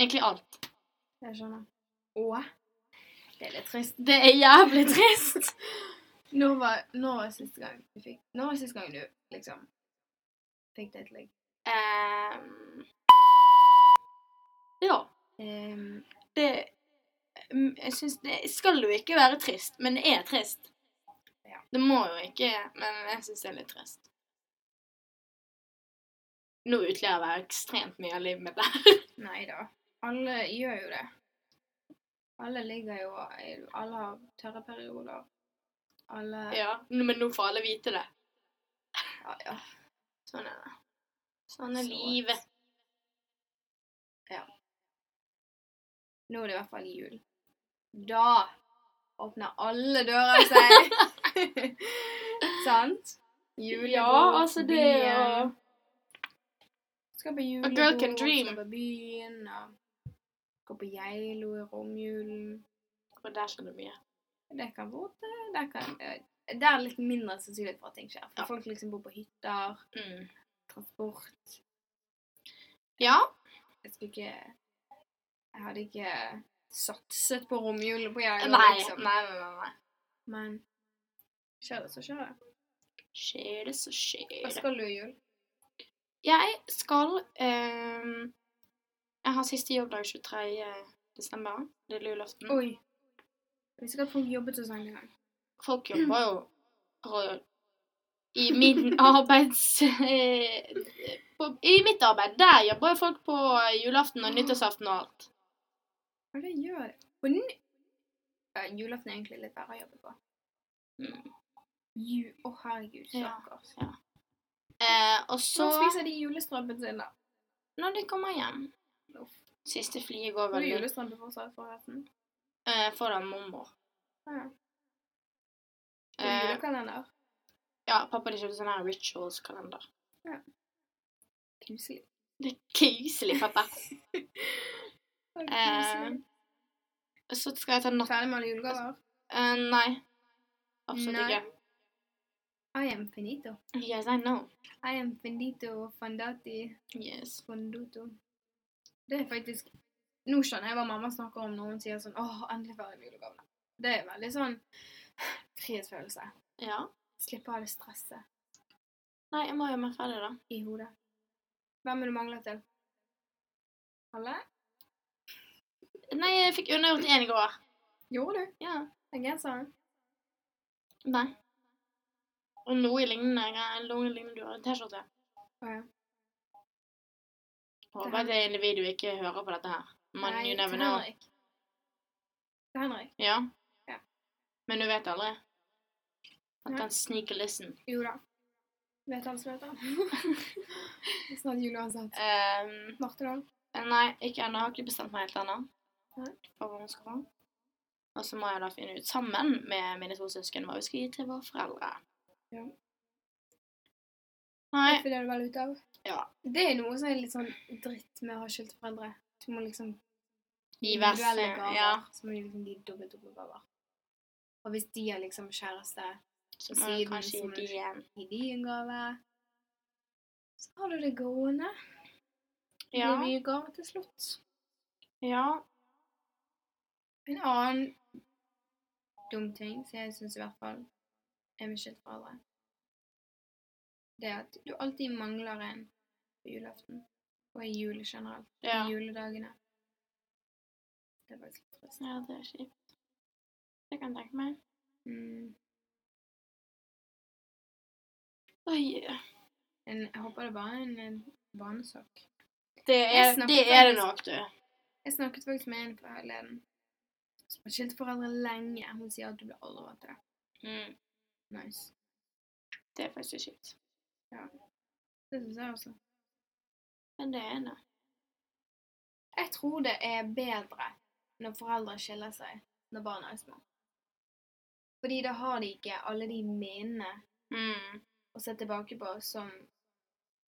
[SPEAKER 1] Egentlig alt.
[SPEAKER 2] Jeg skjønner. Og det er litt trist.
[SPEAKER 1] Det er jævlig trist.
[SPEAKER 2] Når var, når var siste gang du fikk Når var siste gang du liksom fikk det til deg?
[SPEAKER 1] Ehm, ja.
[SPEAKER 2] Ehm,
[SPEAKER 1] Det mm, Jeg syns det skal jo ikke være trist, men det er trist.
[SPEAKER 2] Ja.
[SPEAKER 1] Det må jo ikke Men jeg syns det er litt trist. Nå utlever jeg ekstremt mye av livet mitt der.
[SPEAKER 2] Nei da. Alle gjør jo det. Alle ligger jo Alle har tørre perioder. Alle
[SPEAKER 1] [LAUGHS] Ja, men nå får alle vite det.
[SPEAKER 2] ja, ja.
[SPEAKER 1] Sånn er det. Sånn er
[SPEAKER 2] Så-
[SPEAKER 1] livet.
[SPEAKER 2] Nå er det i hvert fall jul. Da åpner alle dører
[SPEAKER 1] [LAUGHS]
[SPEAKER 2] seg. Sant?
[SPEAKER 1] Ja, altså, det er jo-
[SPEAKER 2] byen. Skal på
[SPEAKER 1] A
[SPEAKER 2] julebord,
[SPEAKER 1] girl can dream.
[SPEAKER 2] skal på byen, og gå på Geilo i romjulen.
[SPEAKER 1] Og der skjer det mye.
[SPEAKER 2] Det kan være det. Der, kan, eh, der er litt mindre sannsynlighet for at ting skjer. For
[SPEAKER 1] Ja.
[SPEAKER 2] folk liksom bor på hytter,
[SPEAKER 1] Mm.
[SPEAKER 2] transport
[SPEAKER 1] Ja.
[SPEAKER 2] Jeg skulle ikke Jeg hadde ikke satset på romjulen på Geilo,
[SPEAKER 1] Nei, nei,
[SPEAKER 2] liksom.
[SPEAKER 1] nei. nei, nei.
[SPEAKER 2] Men skjer det, så skjer det.
[SPEAKER 1] Skjer det, så
[SPEAKER 2] Hva
[SPEAKER 1] skjer det.
[SPEAKER 2] skal du i jul?
[SPEAKER 1] Mm. Jeg skal ehm, Jeg har siste jobbdag 23. desember. Lille julaften.
[SPEAKER 2] Oi. Vi skal få jobbet hos han en gang.
[SPEAKER 1] Folk
[SPEAKER 2] Mm.
[SPEAKER 1] jobber jo på I
[SPEAKER 2] [LAUGHS]
[SPEAKER 1] min arbeids... eh, På, I mitt arbeid, der jobber jo folk på julaften og nyttårsaften og alt.
[SPEAKER 2] Hva er det jeg gjør? På ny... Ja, julaften er egentlig litt verre å jobbe på.
[SPEAKER 1] Mm.
[SPEAKER 2] Ju... Å, herregud,
[SPEAKER 1] Ja.
[SPEAKER 2] stakkars.
[SPEAKER 1] Eh, og
[SPEAKER 2] Så
[SPEAKER 1] så
[SPEAKER 2] spiser de julestrømpen sin, da.
[SPEAKER 1] Når de kommer hjem
[SPEAKER 2] Uff.
[SPEAKER 1] Siste flyet går
[SPEAKER 2] Har
[SPEAKER 1] vel
[SPEAKER 2] du
[SPEAKER 1] litt
[SPEAKER 2] julestrømpe fortsatt, forresten?
[SPEAKER 1] eh, foran mormor.
[SPEAKER 2] Ja. Og
[SPEAKER 1] Eh,
[SPEAKER 2] julekalender.
[SPEAKER 1] ja, pappa de kjøpte sånn her rituals-kalender.
[SPEAKER 2] Kuselig.
[SPEAKER 1] Det er kuselig,
[SPEAKER 2] [LAUGHS]
[SPEAKER 1] pappa. Eh,
[SPEAKER 2] Å, kuselig.
[SPEAKER 1] Så skal jeg ta natt...
[SPEAKER 2] Ferdig med alle julegaver?
[SPEAKER 1] eh, nei. Absolutt
[SPEAKER 2] Nei.
[SPEAKER 1] ikke.
[SPEAKER 2] I am finito.
[SPEAKER 1] Yes, I know.
[SPEAKER 2] I am finito fandati.
[SPEAKER 1] Yes.
[SPEAKER 2] Fondoto. Det er faktisk Nå skjønner jeg hva mamma snakker om når hun sier sånn åh, endelig ferdig med julegavene. Det er veldig sånn frihetsfølelse.
[SPEAKER 1] Ja.
[SPEAKER 2] Slippe av det stresset.
[SPEAKER 1] Nei, jeg må gjøre meg ferdig, da.
[SPEAKER 2] i hodet. Hvem vil du mangle til? Alle?
[SPEAKER 1] Nei, jeg fikk undergjort én i går.
[SPEAKER 2] Gjorde du?
[SPEAKER 1] Ja.
[SPEAKER 2] Den genseren?
[SPEAKER 1] Nei. Og noe lignende, noe lignende du har en T-skjorte.
[SPEAKER 2] Å ja.
[SPEAKER 1] Håper at det individet ikke hører på dette her. Men
[SPEAKER 2] Nei,
[SPEAKER 1] you
[SPEAKER 2] til
[SPEAKER 1] never know.
[SPEAKER 2] Henrik. Til Henrik.
[SPEAKER 1] Ja.
[SPEAKER 2] Ja.
[SPEAKER 1] Men du vet aldri. At
[SPEAKER 2] Nei.
[SPEAKER 1] den sneaker listen.
[SPEAKER 2] Jo da. Vet alle
[SPEAKER 1] [LAUGHS]
[SPEAKER 2] som vet det. Det er Snart jul uansett.
[SPEAKER 1] Ehm,
[SPEAKER 2] Martedal.
[SPEAKER 1] nei, ikke ennå. Har ikke bestemt meg helt ennå.
[SPEAKER 2] Nei.
[SPEAKER 1] For hva man skal få. Og så må jeg da finne ut sammen med mine to søsken hva vi skal gi til våre foreldre.
[SPEAKER 2] Ja.
[SPEAKER 1] Nei.
[SPEAKER 2] Det finner du vel ut av.
[SPEAKER 1] Ja.
[SPEAKER 2] Det er noe som er litt sånn dritt med å ha skilte foreldre. Du må liksom
[SPEAKER 1] Gi vers. eh,
[SPEAKER 2] individuelle gaver.
[SPEAKER 1] Ja.
[SPEAKER 2] Så må de liksom gi dobbelt opp med gaver. Og hvis de har liksom kjæreste,
[SPEAKER 1] Så må
[SPEAKER 2] Siden
[SPEAKER 1] jeg kanskje
[SPEAKER 2] som
[SPEAKER 1] gi
[SPEAKER 2] er-
[SPEAKER 1] de en
[SPEAKER 2] gir de en gave. Så har du det gående. Det
[SPEAKER 1] Ja.
[SPEAKER 2] blir mye gaver til slutt.
[SPEAKER 1] ja.
[SPEAKER 2] En annen dum ting som jeg syns i hvert fall er med skyldforeldre, det er at du alltid mangler en på julaften. Og i juli generelt.
[SPEAKER 1] ja.
[SPEAKER 2] I juledagene. Det er faktisk litt trist.
[SPEAKER 1] Ja, det er kjipt. Det kan jeg tenke meg.
[SPEAKER 2] Mm.
[SPEAKER 1] Oi.
[SPEAKER 2] En, jeg håper det bare er en, en vanesak.
[SPEAKER 1] Det
[SPEAKER 2] Jeg
[SPEAKER 1] er
[SPEAKER 2] snakket
[SPEAKER 1] det, er det
[SPEAKER 2] faktisk-
[SPEAKER 1] nok, du.
[SPEAKER 2] Jeg snakket faktisk med en forleden som har skilt foreldre lenge. Hun sier at du blir aldri vant til det.
[SPEAKER 1] Mm.
[SPEAKER 2] Nice.
[SPEAKER 1] Det er faktisk kjipt.
[SPEAKER 2] Det syns jeg også.
[SPEAKER 1] Men det er det.
[SPEAKER 2] Jeg tror det er bedre når foreldre skiller seg når barna er små. Fordi da har de ikke alle de minnene
[SPEAKER 1] Mm.
[SPEAKER 2] å se tilbake på som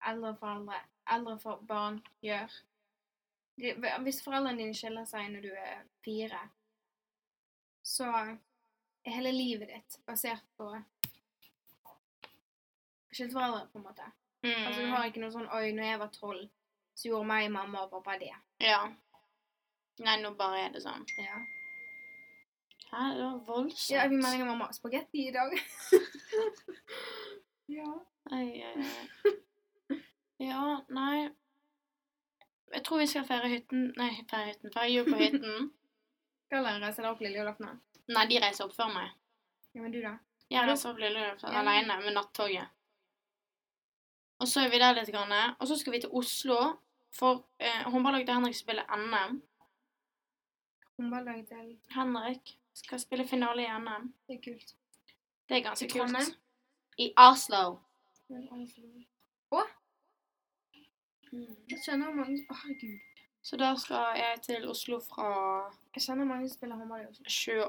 [SPEAKER 2] eldre foreldre, eldre for barn gjør. De- Hvis foreldrene dine skiller seg når du er fire, så er hele livet ditt basert på skilte foreldre, på en måte.
[SPEAKER 1] Mm.
[SPEAKER 2] Altså Du har ikke noe sånn 'oi, når jeg var tolv, så gjorde meg mamma og pappa det'.
[SPEAKER 1] Ja. Nei, nå bare er det sånn.
[SPEAKER 2] Ja.
[SPEAKER 1] Hæ, det var voldsomt.
[SPEAKER 2] Ja, jeg fikk melding av mamma. Spagetti i dag. [LAUGHS] ja.
[SPEAKER 1] Oi, oi, oi. [LAUGHS] Ja, nei. Jeg tror vi skal feire hytten Nei, feire hytten. Feire jul på
[SPEAKER 2] [LAUGHS]
[SPEAKER 1] hytten.
[SPEAKER 2] Skal dere reise dere opp lille julaften? da?
[SPEAKER 1] Nei, de reiser opp før meg.
[SPEAKER 2] Ja, men du, da?
[SPEAKER 1] Jeg reiser opp lille julaften
[SPEAKER 2] Ja.
[SPEAKER 1] alene med nattoget. Og så er vi der litt, grann, og så skal vi til Oslo. For eh, håndballaget til Henrik spiller NM.
[SPEAKER 2] Håndballaget til
[SPEAKER 1] Henrik skal spille finale i NM.
[SPEAKER 2] Det er kult.
[SPEAKER 1] Det er ganske
[SPEAKER 2] I
[SPEAKER 1] kult.
[SPEAKER 2] Trondheim?
[SPEAKER 1] I Oslo.
[SPEAKER 2] Men altså Å! Jeg kjenner mange Å, herregud.
[SPEAKER 1] Så da skal jeg til Oslo fra
[SPEAKER 2] Jeg kjenner mange som spiller håndball i Oslo.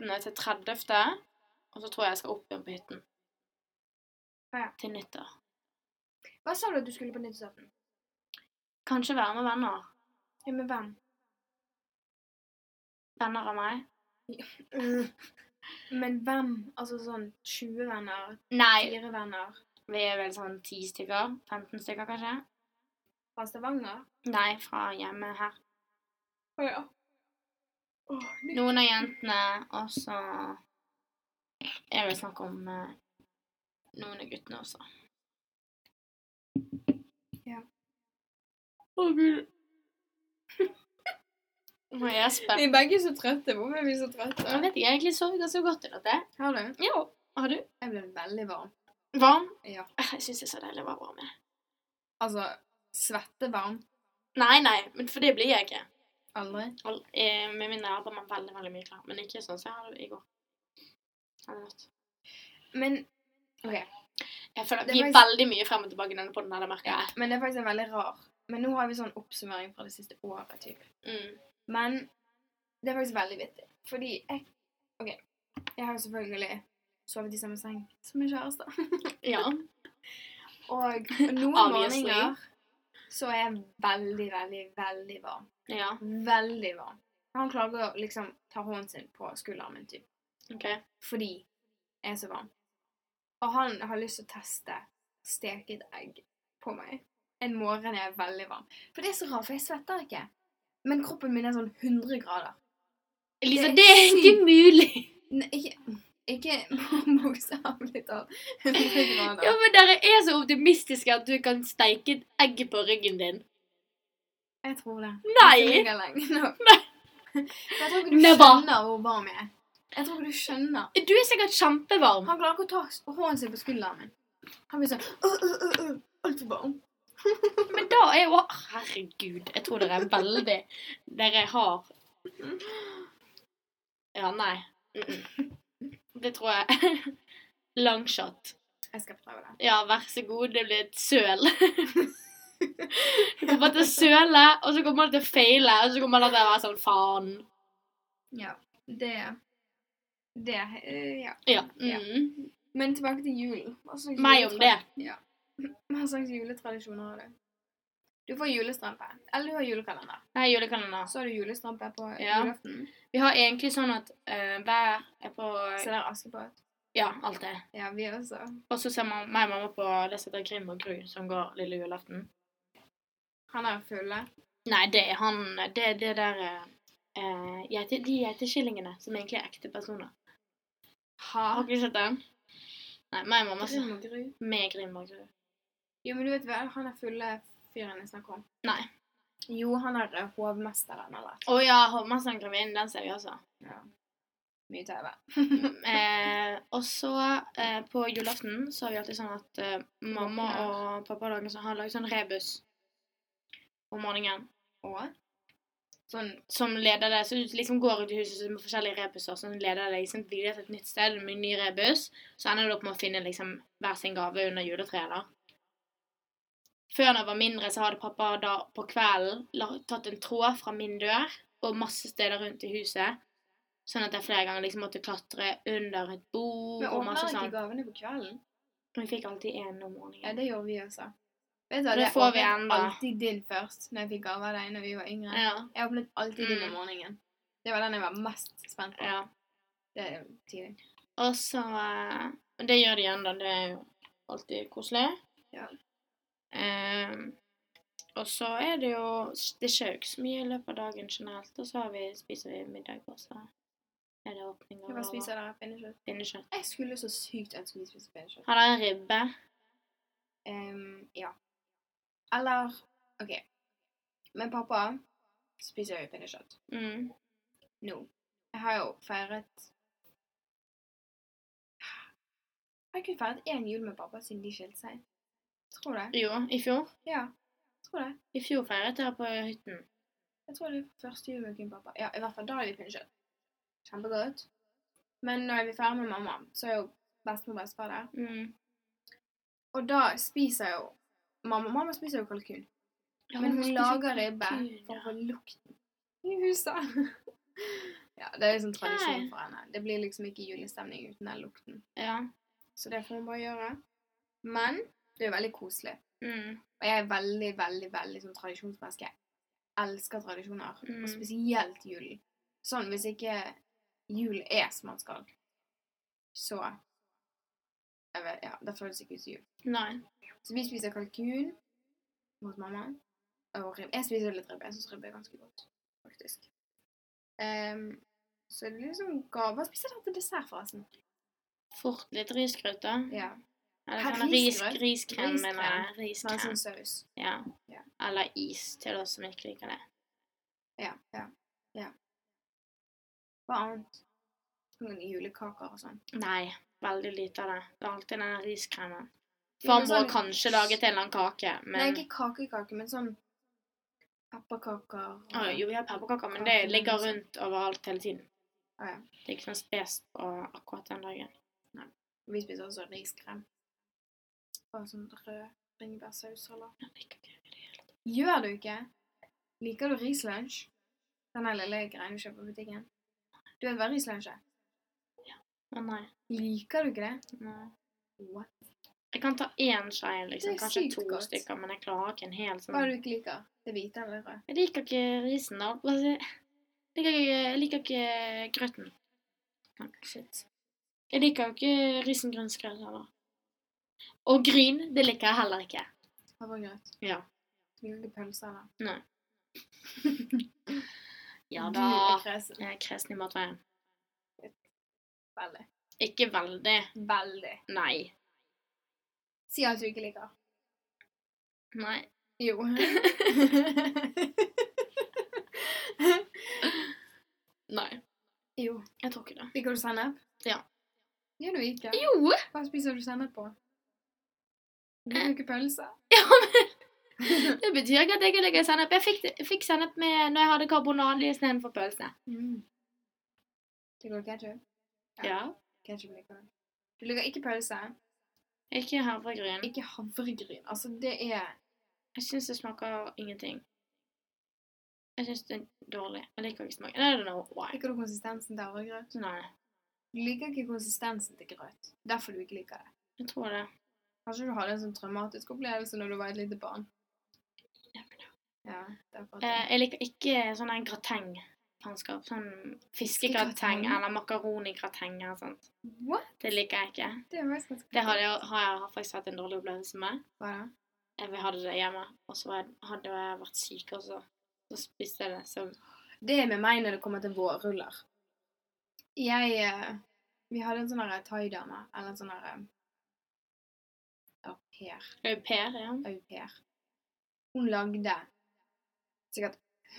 [SPEAKER 1] 28. til 30. Og så tror jeg jeg skal opp igjen på hytten.
[SPEAKER 2] Å ja.
[SPEAKER 1] Til nyttår.
[SPEAKER 2] Hva sa du at du skulle på nyttårsaften?
[SPEAKER 1] Kanskje være med venner.
[SPEAKER 2] Ja, med hvem?
[SPEAKER 1] Venner av meg.
[SPEAKER 2] Men hvem? Altså sånn 20 venner?
[SPEAKER 1] Nei,
[SPEAKER 2] 4 venner?
[SPEAKER 1] vi er vel sånn 10 stykker. 15 stykker, kanskje.
[SPEAKER 2] Fra Stavanger?
[SPEAKER 1] Nei, fra hjemme her.
[SPEAKER 2] Å ja. Åh, det-
[SPEAKER 1] Noen av jentene, og så Jeg vil snakke om eh, noen av guttene også.
[SPEAKER 2] Ja.
[SPEAKER 1] Å, gud. Nå er jeg
[SPEAKER 2] Vi
[SPEAKER 1] spent.
[SPEAKER 2] er begge så trøtte. Hvorfor er vi så
[SPEAKER 1] Jeg
[SPEAKER 2] trøtte?
[SPEAKER 1] vet ikke, jeg egentlig sover ganske godt i dette.
[SPEAKER 2] Har du?
[SPEAKER 1] Ja. Har du?
[SPEAKER 2] Jeg ble veldig varm.
[SPEAKER 1] Varm?
[SPEAKER 2] Ja.
[SPEAKER 1] Eh, Jeg syns det er så deilig å være varm. jeg.
[SPEAKER 2] Altså, svettevarm.
[SPEAKER 1] Nei, nei, men for det blir jeg ikke.
[SPEAKER 2] Aldri.
[SPEAKER 1] Al- eh, Med mindre jeg har på meg veldig veldig mye klær. Men ikke sånn som jeg hadde i går. Eller natt.
[SPEAKER 2] Men, ok.
[SPEAKER 1] Jeg føler
[SPEAKER 2] Det
[SPEAKER 1] at vi
[SPEAKER 2] var
[SPEAKER 1] er
[SPEAKER 2] ikke-
[SPEAKER 1] veldig mye frem og tilbake i denne podden, her, det merker jeg.
[SPEAKER 2] Men det er faktisk en veldig rar. Men nå har vi sånn oppsummering fra det siste året, typ.
[SPEAKER 1] Mm.
[SPEAKER 2] Men det er faktisk veldig vittig. Fordi jeg OK. Jeg har jo selvfølgelig sovet i samme seng som min kjæreste. [LAUGHS]
[SPEAKER 1] Ja.
[SPEAKER 2] Og noen
[SPEAKER 1] Obviously.
[SPEAKER 2] morgener så er jeg veldig, veldig, veldig varm.
[SPEAKER 1] Ja.
[SPEAKER 2] Veldig varm. Han klager å liksom ta hånden sin på skulderen min, typ.
[SPEAKER 1] OK.
[SPEAKER 2] Fordi jeg er så varm. Og han har lyst til å teste steket egg på meg. En morgen er jeg veldig varm. For det er så rart, for jeg svetter ikke. Men kroppen min er sånn 100 grader.
[SPEAKER 1] Elisa,
[SPEAKER 2] Det er
[SPEAKER 1] det er ikke [LAUGHS] mulig!
[SPEAKER 2] Nei, ikke Ikke bokstavelig talt 100 grader.
[SPEAKER 1] Ja, men dere er så optimistiske at du kan steike et egg på ryggen din.
[SPEAKER 2] Jeg tror det.
[SPEAKER 1] Nei!
[SPEAKER 2] Hvis det ligger lenge
[SPEAKER 1] [LAUGHS]
[SPEAKER 2] nok. [LAUGHS] Jeg tror ikke du
[SPEAKER 1] Never.
[SPEAKER 2] skjønner hvor varm jeg er. Jeg tror ikke du skjønner.
[SPEAKER 1] Du er sikkert kjempevarm.
[SPEAKER 2] Han klarer ikke å ta s- hånden sin på skulderen min. Han blir sånn «Åh, åh, åh, åh, Altfor varm.
[SPEAKER 1] Men da er jo Herregud, jeg tror dere er veldig Dere har Ja, nei. Mm-mm. Det tror jeg. [LAUGHS] Langshot.
[SPEAKER 2] Jeg skal prøve det.
[SPEAKER 1] Ja, vær så god, det blir et søl. [LAUGHS] Du kommer til å søle, og så kommer det til å feile, og så kommer det til å være sånn faen.
[SPEAKER 2] Ja. Det Det eh, Ja.
[SPEAKER 1] Ja. Mm.
[SPEAKER 2] Men tilbake til julen. Hva slags
[SPEAKER 1] Meg om
[SPEAKER 2] juletrad-
[SPEAKER 1] det.
[SPEAKER 2] Hva slags juletradisjoner har du? Du får julestrampe. Eller du har julekalender.
[SPEAKER 1] Nei, julekalender.
[SPEAKER 2] Så har du julestrampe på
[SPEAKER 1] Ja.
[SPEAKER 2] julaften.
[SPEAKER 1] Vi har egentlig sånn at eh, hver er på
[SPEAKER 2] Så det er Askepott.
[SPEAKER 1] Ja, alt det.
[SPEAKER 2] Ja, vi også.
[SPEAKER 1] Og så ser man, meg og mamma på det som heter Grim og Gru, som går lille julaften.
[SPEAKER 2] Han er fulle.
[SPEAKER 1] Nei, det er han Det er det der eh, geite, De geitekillingene som egentlig er ekte personer.
[SPEAKER 2] Ha.
[SPEAKER 1] Har ikke du sett den? Nei, meg og mamma ser
[SPEAKER 2] Grim og Gru.
[SPEAKER 1] med Grim og Gru.
[SPEAKER 2] Jo, men du vet vel, han er fulle fyren jeg snakker om.
[SPEAKER 1] Nei.
[SPEAKER 2] Jo, han er eh, hovmesteren eller et
[SPEAKER 1] Å ja, Hovmesteren Grevinne, den ser vi også.
[SPEAKER 2] mye TV.
[SPEAKER 1] [LAUGHS] Eh, og så eh, på julaften så har vi alltid sånn at eh, mamma og pappa lager sånn, har laget sånn rebus om morgenen.
[SPEAKER 2] Og sånn
[SPEAKER 1] som leder deg, så du liksom går rundt i huset med forskjellige rebuser, som leder deg liksom videre til et nytt sted med en ny rebus, så ender du opp med å finne liksom hver sin gave under juletreet da. Før når jeg var mindre, så hadde pappa da på kvelden la- tatt en tråd fra min dør og masse steder rundt i huset, sånn at jeg flere ganger liksom måtte klatre under et bord
[SPEAKER 2] Men
[SPEAKER 1] og
[SPEAKER 2] ordner
[SPEAKER 1] masse
[SPEAKER 2] ikke
[SPEAKER 1] sånn.
[SPEAKER 2] gavene på kvelden?
[SPEAKER 1] Men vi fikk alltid en om
[SPEAKER 2] Ja,
[SPEAKER 1] morgenen.
[SPEAKER 2] det gjorde vi også. Vet du, hva,
[SPEAKER 1] Det
[SPEAKER 2] jeg
[SPEAKER 1] får vi
[SPEAKER 2] åpnet
[SPEAKER 1] enda.
[SPEAKER 2] alltid din først, når jeg fikk gave av deg når vi var yngre.
[SPEAKER 1] Ja,
[SPEAKER 2] Jeg åpnet alltid din om
[SPEAKER 1] Mm.
[SPEAKER 2] morgenen. Det var den jeg var mest spent på.
[SPEAKER 1] ja.
[SPEAKER 2] Det er tidlig.
[SPEAKER 1] Og så eh, og Det gjør de igjen, da. Det er jo alltid koselig.
[SPEAKER 2] Ja.
[SPEAKER 1] Eh, og så er det jo Det skjer jo ikke så mye i løpet av dagen generelt. Og så har vi, spiser vi middag, og så er det åpning
[SPEAKER 2] Hva
[SPEAKER 1] av
[SPEAKER 2] spiser dere? Pinnekjøtt?
[SPEAKER 1] pinnekjøtt.
[SPEAKER 2] Jeg skulle så sykt ønske vi spiste pinnekjøtt.
[SPEAKER 1] Har dere ribbe?
[SPEAKER 2] Ehm, ja. Eller OK. Men pappa spiser jo pinnekjøtt
[SPEAKER 1] Mm.
[SPEAKER 2] nå. Jeg har jo feiret Jeg har kun feiret én jul med pappa siden de skilte seg. Tror det.
[SPEAKER 1] Jo, i fjor.
[SPEAKER 2] Ja. Tror det.
[SPEAKER 1] I fjor feiret dere på hytten.
[SPEAKER 2] Jeg tror det var første jul med kun pappa. Ja, i hvert fall da hadde vi pinnekjøtt. Kjempegodt. Men når vi feirer med mamma, så er jo bestemor og bestefar der.
[SPEAKER 1] Mm.
[SPEAKER 2] Og da spiser jo mamma Mamma spiser jo kalkun.
[SPEAKER 1] Ja,
[SPEAKER 2] men hun
[SPEAKER 1] spiser
[SPEAKER 2] lager
[SPEAKER 1] kalkun,
[SPEAKER 2] ribbe for å
[SPEAKER 1] ja.
[SPEAKER 2] få lukten i huset. [LAUGHS] ja, det er liksom tradisjon
[SPEAKER 1] Ok.
[SPEAKER 2] for henne. Det blir liksom ikke julestemning uten den lukten.
[SPEAKER 1] Ja.
[SPEAKER 2] Så det får hun bare gjøre. Men det er jo veldig koselig.
[SPEAKER 1] Mm.
[SPEAKER 2] Og jeg er veldig, veldig, veldig sånn tradisjonsmenneske. Jeg elsker tradisjoner.
[SPEAKER 1] Mm.
[SPEAKER 2] Og spesielt julen. Sånn hvis ikke jul er som man skal, så jeg vet, Ja, da føles det ikke ut som jul.
[SPEAKER 1] Nei.
[SPEAKER 2] Så vi spiser kalkun mot mamma. Og ribbe. Jeg spiser litt ribbe. Jeg syns ribbe er ganske godt, faktisk. Ehm, så det er liksom gaver. Hva spiser dere til dessert, forresten?
[SPEAKER 1] Fort litt risgrøt, da.
[SPEAKER 2] Ja.
[SPEAKER 1] Eller
[SPEAKER 2] Her,
[SPEAKER 1] sånn ris,
[SPEAKER 2] risgrøt?
[SPEAKER 1] riskrem,
[SPEAKER 2] Riskrem.
[SPEAKER 1] mener jeg.
[SPEAKER 2] Med
[SPEAKER 1] Riskrem.
[SPEAKER 2] sånn saus.
[SPEAKER 1] Ja.
[SPEAKER 2] Ja.
[SPEAKER 1] Eller is til oss som ikke liker det.
[SPEAKER 2] Ja. Ja. ja. Hva annet? Noen julekaker og sånn.
[SPEAKER 1] Nei, veldig lite av det. Det er alltid denne riskremen.
[SPEAKER 2] Jo, men
[SPEAKER 1] Farmor har
[SPEAKER 2] sånn-
[SPEAKER 1] kanskje laget en eller annen kake,
[SPEAKER 2] Nei,
[SPEAKER 1] men
[SPEAKER 2] ikke kakekake, men sånn pepperkaker. og-
[SPEAKER 1] Å, Jo, vi har pepperkaker, men det
[SPEAKER 2] Kake, men
[SPEAKER 1] ligger
[SPEAKER 2] liksom-
[SPEAKER 1] rundt overalt hele tiden.
[SPEAKER 2] Å, ja.
[SPEAKER 1] Det er ikke sånn spes på akkurat den dagen.
[SPEAKER 2] Vi spiser også riskrem. Og sånn rød ringebærsaussalat.
[SPEAKER 1] Jeg liker ikke det i det hele tatt.
[SPEAKER 2] Gjør du ikke? Liker du rislunsj? Den her lille greien du kjøper på butikken. Du vet hva rislunsj er?
[SPEAKER 1] Men nei,
[SPEAKER 2] Liker du ikke det?
[SPEAKER 1] nei.
[SPEAKER 2] What?
[SPEAKER 1] Jeg kan ta én skei, liksom.
[SPEAKER 2] Det er
[SPEAKER 1] Kanskje
[SPEAKER 2] sykt
[SPEAKER 1] to
[SPEAKER 2] godt.
[SPEAKER 1] stykker, men jeg klarer ikke en hel
[SPEAKER 2] Hva er
[SPEAKER 1] sånn
[SPEAKER 2] det du ikke liker? Det hvite eller det røde?
[SPEAKER 1] Jeg liker ikke risen, da. Hva sier jeg? Jeg liker ikke, jeg liker ikke grøten. Shit. Jeg liker jo ikke risengrynsgrøt heller. Og gryn, det liker jeg heller ikke.
[SPEAKER 2] Havregrøt?
[SPEAKER 1] Ja.
[SPEAKER 2] Liker du ikke pølse eller?
[SPEAKER 1] Ja
[SPEAKER 2] Du
[SPEAKER 1] da.
[SPEAKER 2] er kresen.
[SPEAKER 1] Jeg er kresen i matveien.
[SPEAKER 2] Veldig.
[SPEAKER 1] Ikke veldig.
[SPEAKER 2] Veldig.
[SPEAKER 1] Nei.
[SPEAKER 2] Si at du ikke liker.
[SPEAKER 1] Nei.
[SPEAKER 2] Jo.
[SPEAKER 1] [LAUGHS]
[SPEAKER 2] [LAUGHS]
[SPEAKER 1] Nei.
[SPEAKER 2] jo.
[SPEAKER 1] Jeg tror ikke det.
[SPEAKER 2] Liker du sennep?
[SPEAKER 1] Ja.
[SPEAKER 2] Gjør du ikke?
[SPEAKER 1] Jo!
[SPEAKER 2] Hva spiser du sennep på? Du liker ikke pølse?
[SPEAKER 1] Eh. Ja, men
[SPEAKER 2] [LAUGHS]
[SPEAKER 1] det betyr ikke at jeg ikke liker sennep. Jeg fikk, jeg fikk sennep med når jeg hadde karbonade istedenfor pølse.
[SPEAKER 2] Mm. Liker du ketchup?
[SPEAKER 1] Ja.
[SPEAKER 2] Ketchup liker du. Du liker ikke pølse.
[SPEAKER 1] Ikke havregryn.
[SPEAKER 2] Ikke havregryn. Altså, det er
[SPEAKER 1] Jeg syns det smaker ingenting. Jeg syns det er dårlig. Jeg liker ikke smaken. I don't know why. Sånn
[SPEAKER 2] Liker du konsistensen til havregrøt?
[SPEAKER 1] Nei,
[SPEAKER 2] Du liker ikke konsistensen til grøt. Derfor du ikke liker det.
[SPEAKER 1] jeg tror det.
[SPEAKER 2] Kanskje du hadde en sånn traumatisk opplevelse når du var et lite barn. Ja, det er akkurat det.
[SPEAKER 1] Eh, jeg liker ikke sånn en grateng. Faenskap. Sånn fiskegrateng
[SPEAKER 2] Fiskegrateng?
[SPEAKER 1] eller makaroni-grateng eller sånt.
[SPEAKER 2] What?
[SPEAKER 1] Det liker jeg ikke.
[SPEAKER 2] Det er faktisk ganske
[SPEAKER 1] Eh, Det har jeg, har jeg faktisk hatt en dårlig opplevelse med.
[SPEAKER 2] Hva da?
[SPEAKER 1] Jeg hadde det hjemme, og så var jeg- hadde jeg vært syk, og så, så spiste jeg det. Så
[SPEAKER 2] Det er med meg når det kommer til vårruller. Jeg eh, Vi hadde en sånn her thaidame, eller en sånn her eh, au pair.
[SPEAKER 1] au pair, ja.
[SPEAKER 2] Au pair. Hun lagde sikkert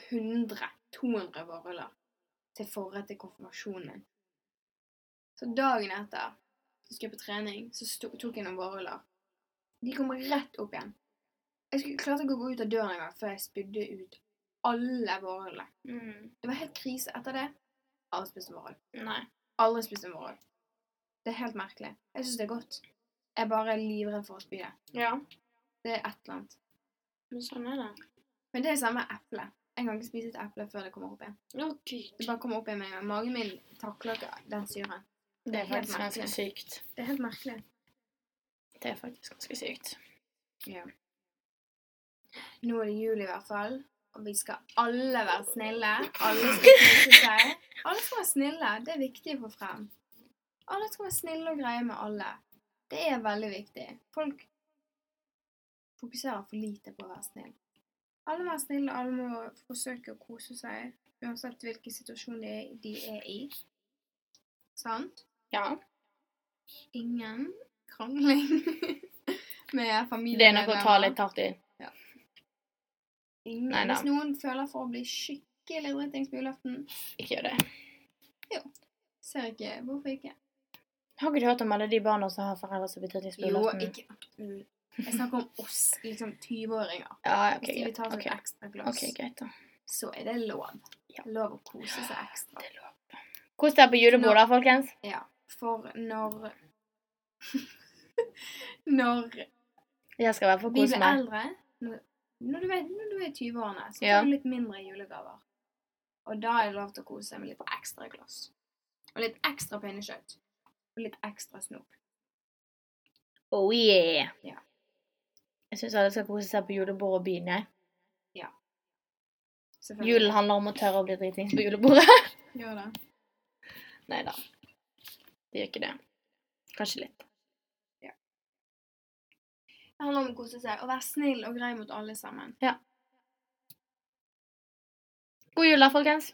[SPEAKER 2] 100-200 vårruller til forrett til konfirmasjonen min. Så dagen etter, så skulle jeg på trening, så sto, tok jeg noen vårruller. De kom rett opp igjen. Jeg skulle, klarte ikke å gå ut av døren engang før jeg spydde ut alle vårrullene.
[SPEAKER 1] Mm.
[SPEAKER 2] Det var helt krise etter det. Aldri spist en vårrull.
[SPEAKER 1] Nei.
[SPEAKER 2] Aldri spist en vårrull. Det er helt merkelig. Jeg syns det er godt. Jeg bare er livredd for å spy det.
[SPEAKER 1] Ja,
[SPEAKER 2] Det er et eller annet.
[SPEAKER 1] men sånn er det.
[SPEAKER 2] Men det er samme eple. Jeg kan ikke spise et eple før det kommer opp igjen.
[SPEAKER 1] Å, gud.
[SPEAKER 2] Det bare kommer opp igjen med en gang. Magen min takler ikke den syren.
[SPEAKER 1] Det er
[SPEAKER 2] helt
[SPEAKER 1] faktisk ganske
[SPEAKER 2] merkelig.
[SPEAKER 1] sykt.
[SPEAKER 2] Det er helt merkelig.
[SPEAKER 1] Det er faktisk ganske sykt.
[SPEAKER 2] Nå er det jul i hvert fall, og vi skal alle være snille. Alle skal kose seg. Alle skal være snille. Det er viktig å få frem. Alle skal være snille og greie med alle. Det er veldig viktig. Folk fokuserer for lite på å være snill. Alle må være snille, alle må forsøke å kose seg, uansett hvilken situasjon de er, de er i. Sånn. Sant?
[SPEAKER 1] Ja.
[SPEAKER 2] Ingen krangling [LAUGHS] med familien.
[SPEAKER 1] Det er nok å ta litt hardt i.
[SPEAKER 2] Ingen,
[SPEAKER 1] Neida.
[SPEAKER 2] hvis noen føler for å bli skikkelig dritings på julaften,
[SPEAKER 1] Ikke gjør det.
[SPEAKER 2] ser jeg ikke hvorfor ikke.
[SPEAKER 1] Har ikke du hørt om alle de barna som har foreldre som blir tatt i
[SPEAKER 2] Jo,
[SPEAKER 1] spilleaften?
[SPEAKER 2] ikke mm. Jeg snakker om oss, liksom 20-åringer.
[SPEAKER 1] Ja, ok,
[SPEAKER 2] Hvis de vil
[SPEAKER 1] greit.
[SPEAKER 2] ta seg
[SPEAKER 1] Ok.
[SPEAKER 2] et ekstra glass,
[SPEAKER 1] ok, greit da.
[SPEAKER 2] så er det lov.
[SPEAKER 1] Ja.
[SPEAKER 2] Lov å kose seg ekstra.
[SPEAKER 1] Kos dere på
[SPEAKER 2] Nå-
[SPEAKER 1] julebord da, folkens.
[SPEAKER 2] Ja, for når [LAUGHS] Når
[SPEAKER 1] Jeg skal i hvert fall
[SPEAKER 2] vi
[SPEAKER 1] kose
[SPEAKER 2] blir
[SPEAKER 1] meg.
[SPEAKER 2] eldre Når, når du er- når du er i 20-årene, så
[SPEAKER 1] Ja.
[SPEAKER 2] får du litt mindre julegaver. Og da er det lov til å kose seg med litt ekstra glass. Og litt ekstra pinnekjøtt. Og litt ekstra snop.
[SPEAKER 1] Oh yeah.
[SPEAKER 2] Ja.
[SPEAKER 1] Jeg syns alle skal kose seg på julebord og byen. jeg.
[SPEAKER 2] Selvfølgelig.
[SPEAKER 1] Julen handler om å tørre å bli dritings på julebordet. [LAUGHS]
[SPEAKER 2] Gjør det.
[SPEAKER 1] Nei da. Det gjør ikke det. Kanskje litt.
[SPEAKER 2] Det handler om å kose seg og være snill og grei mot alle sammen.
[SPEAKER 1] God jul, da, folkens.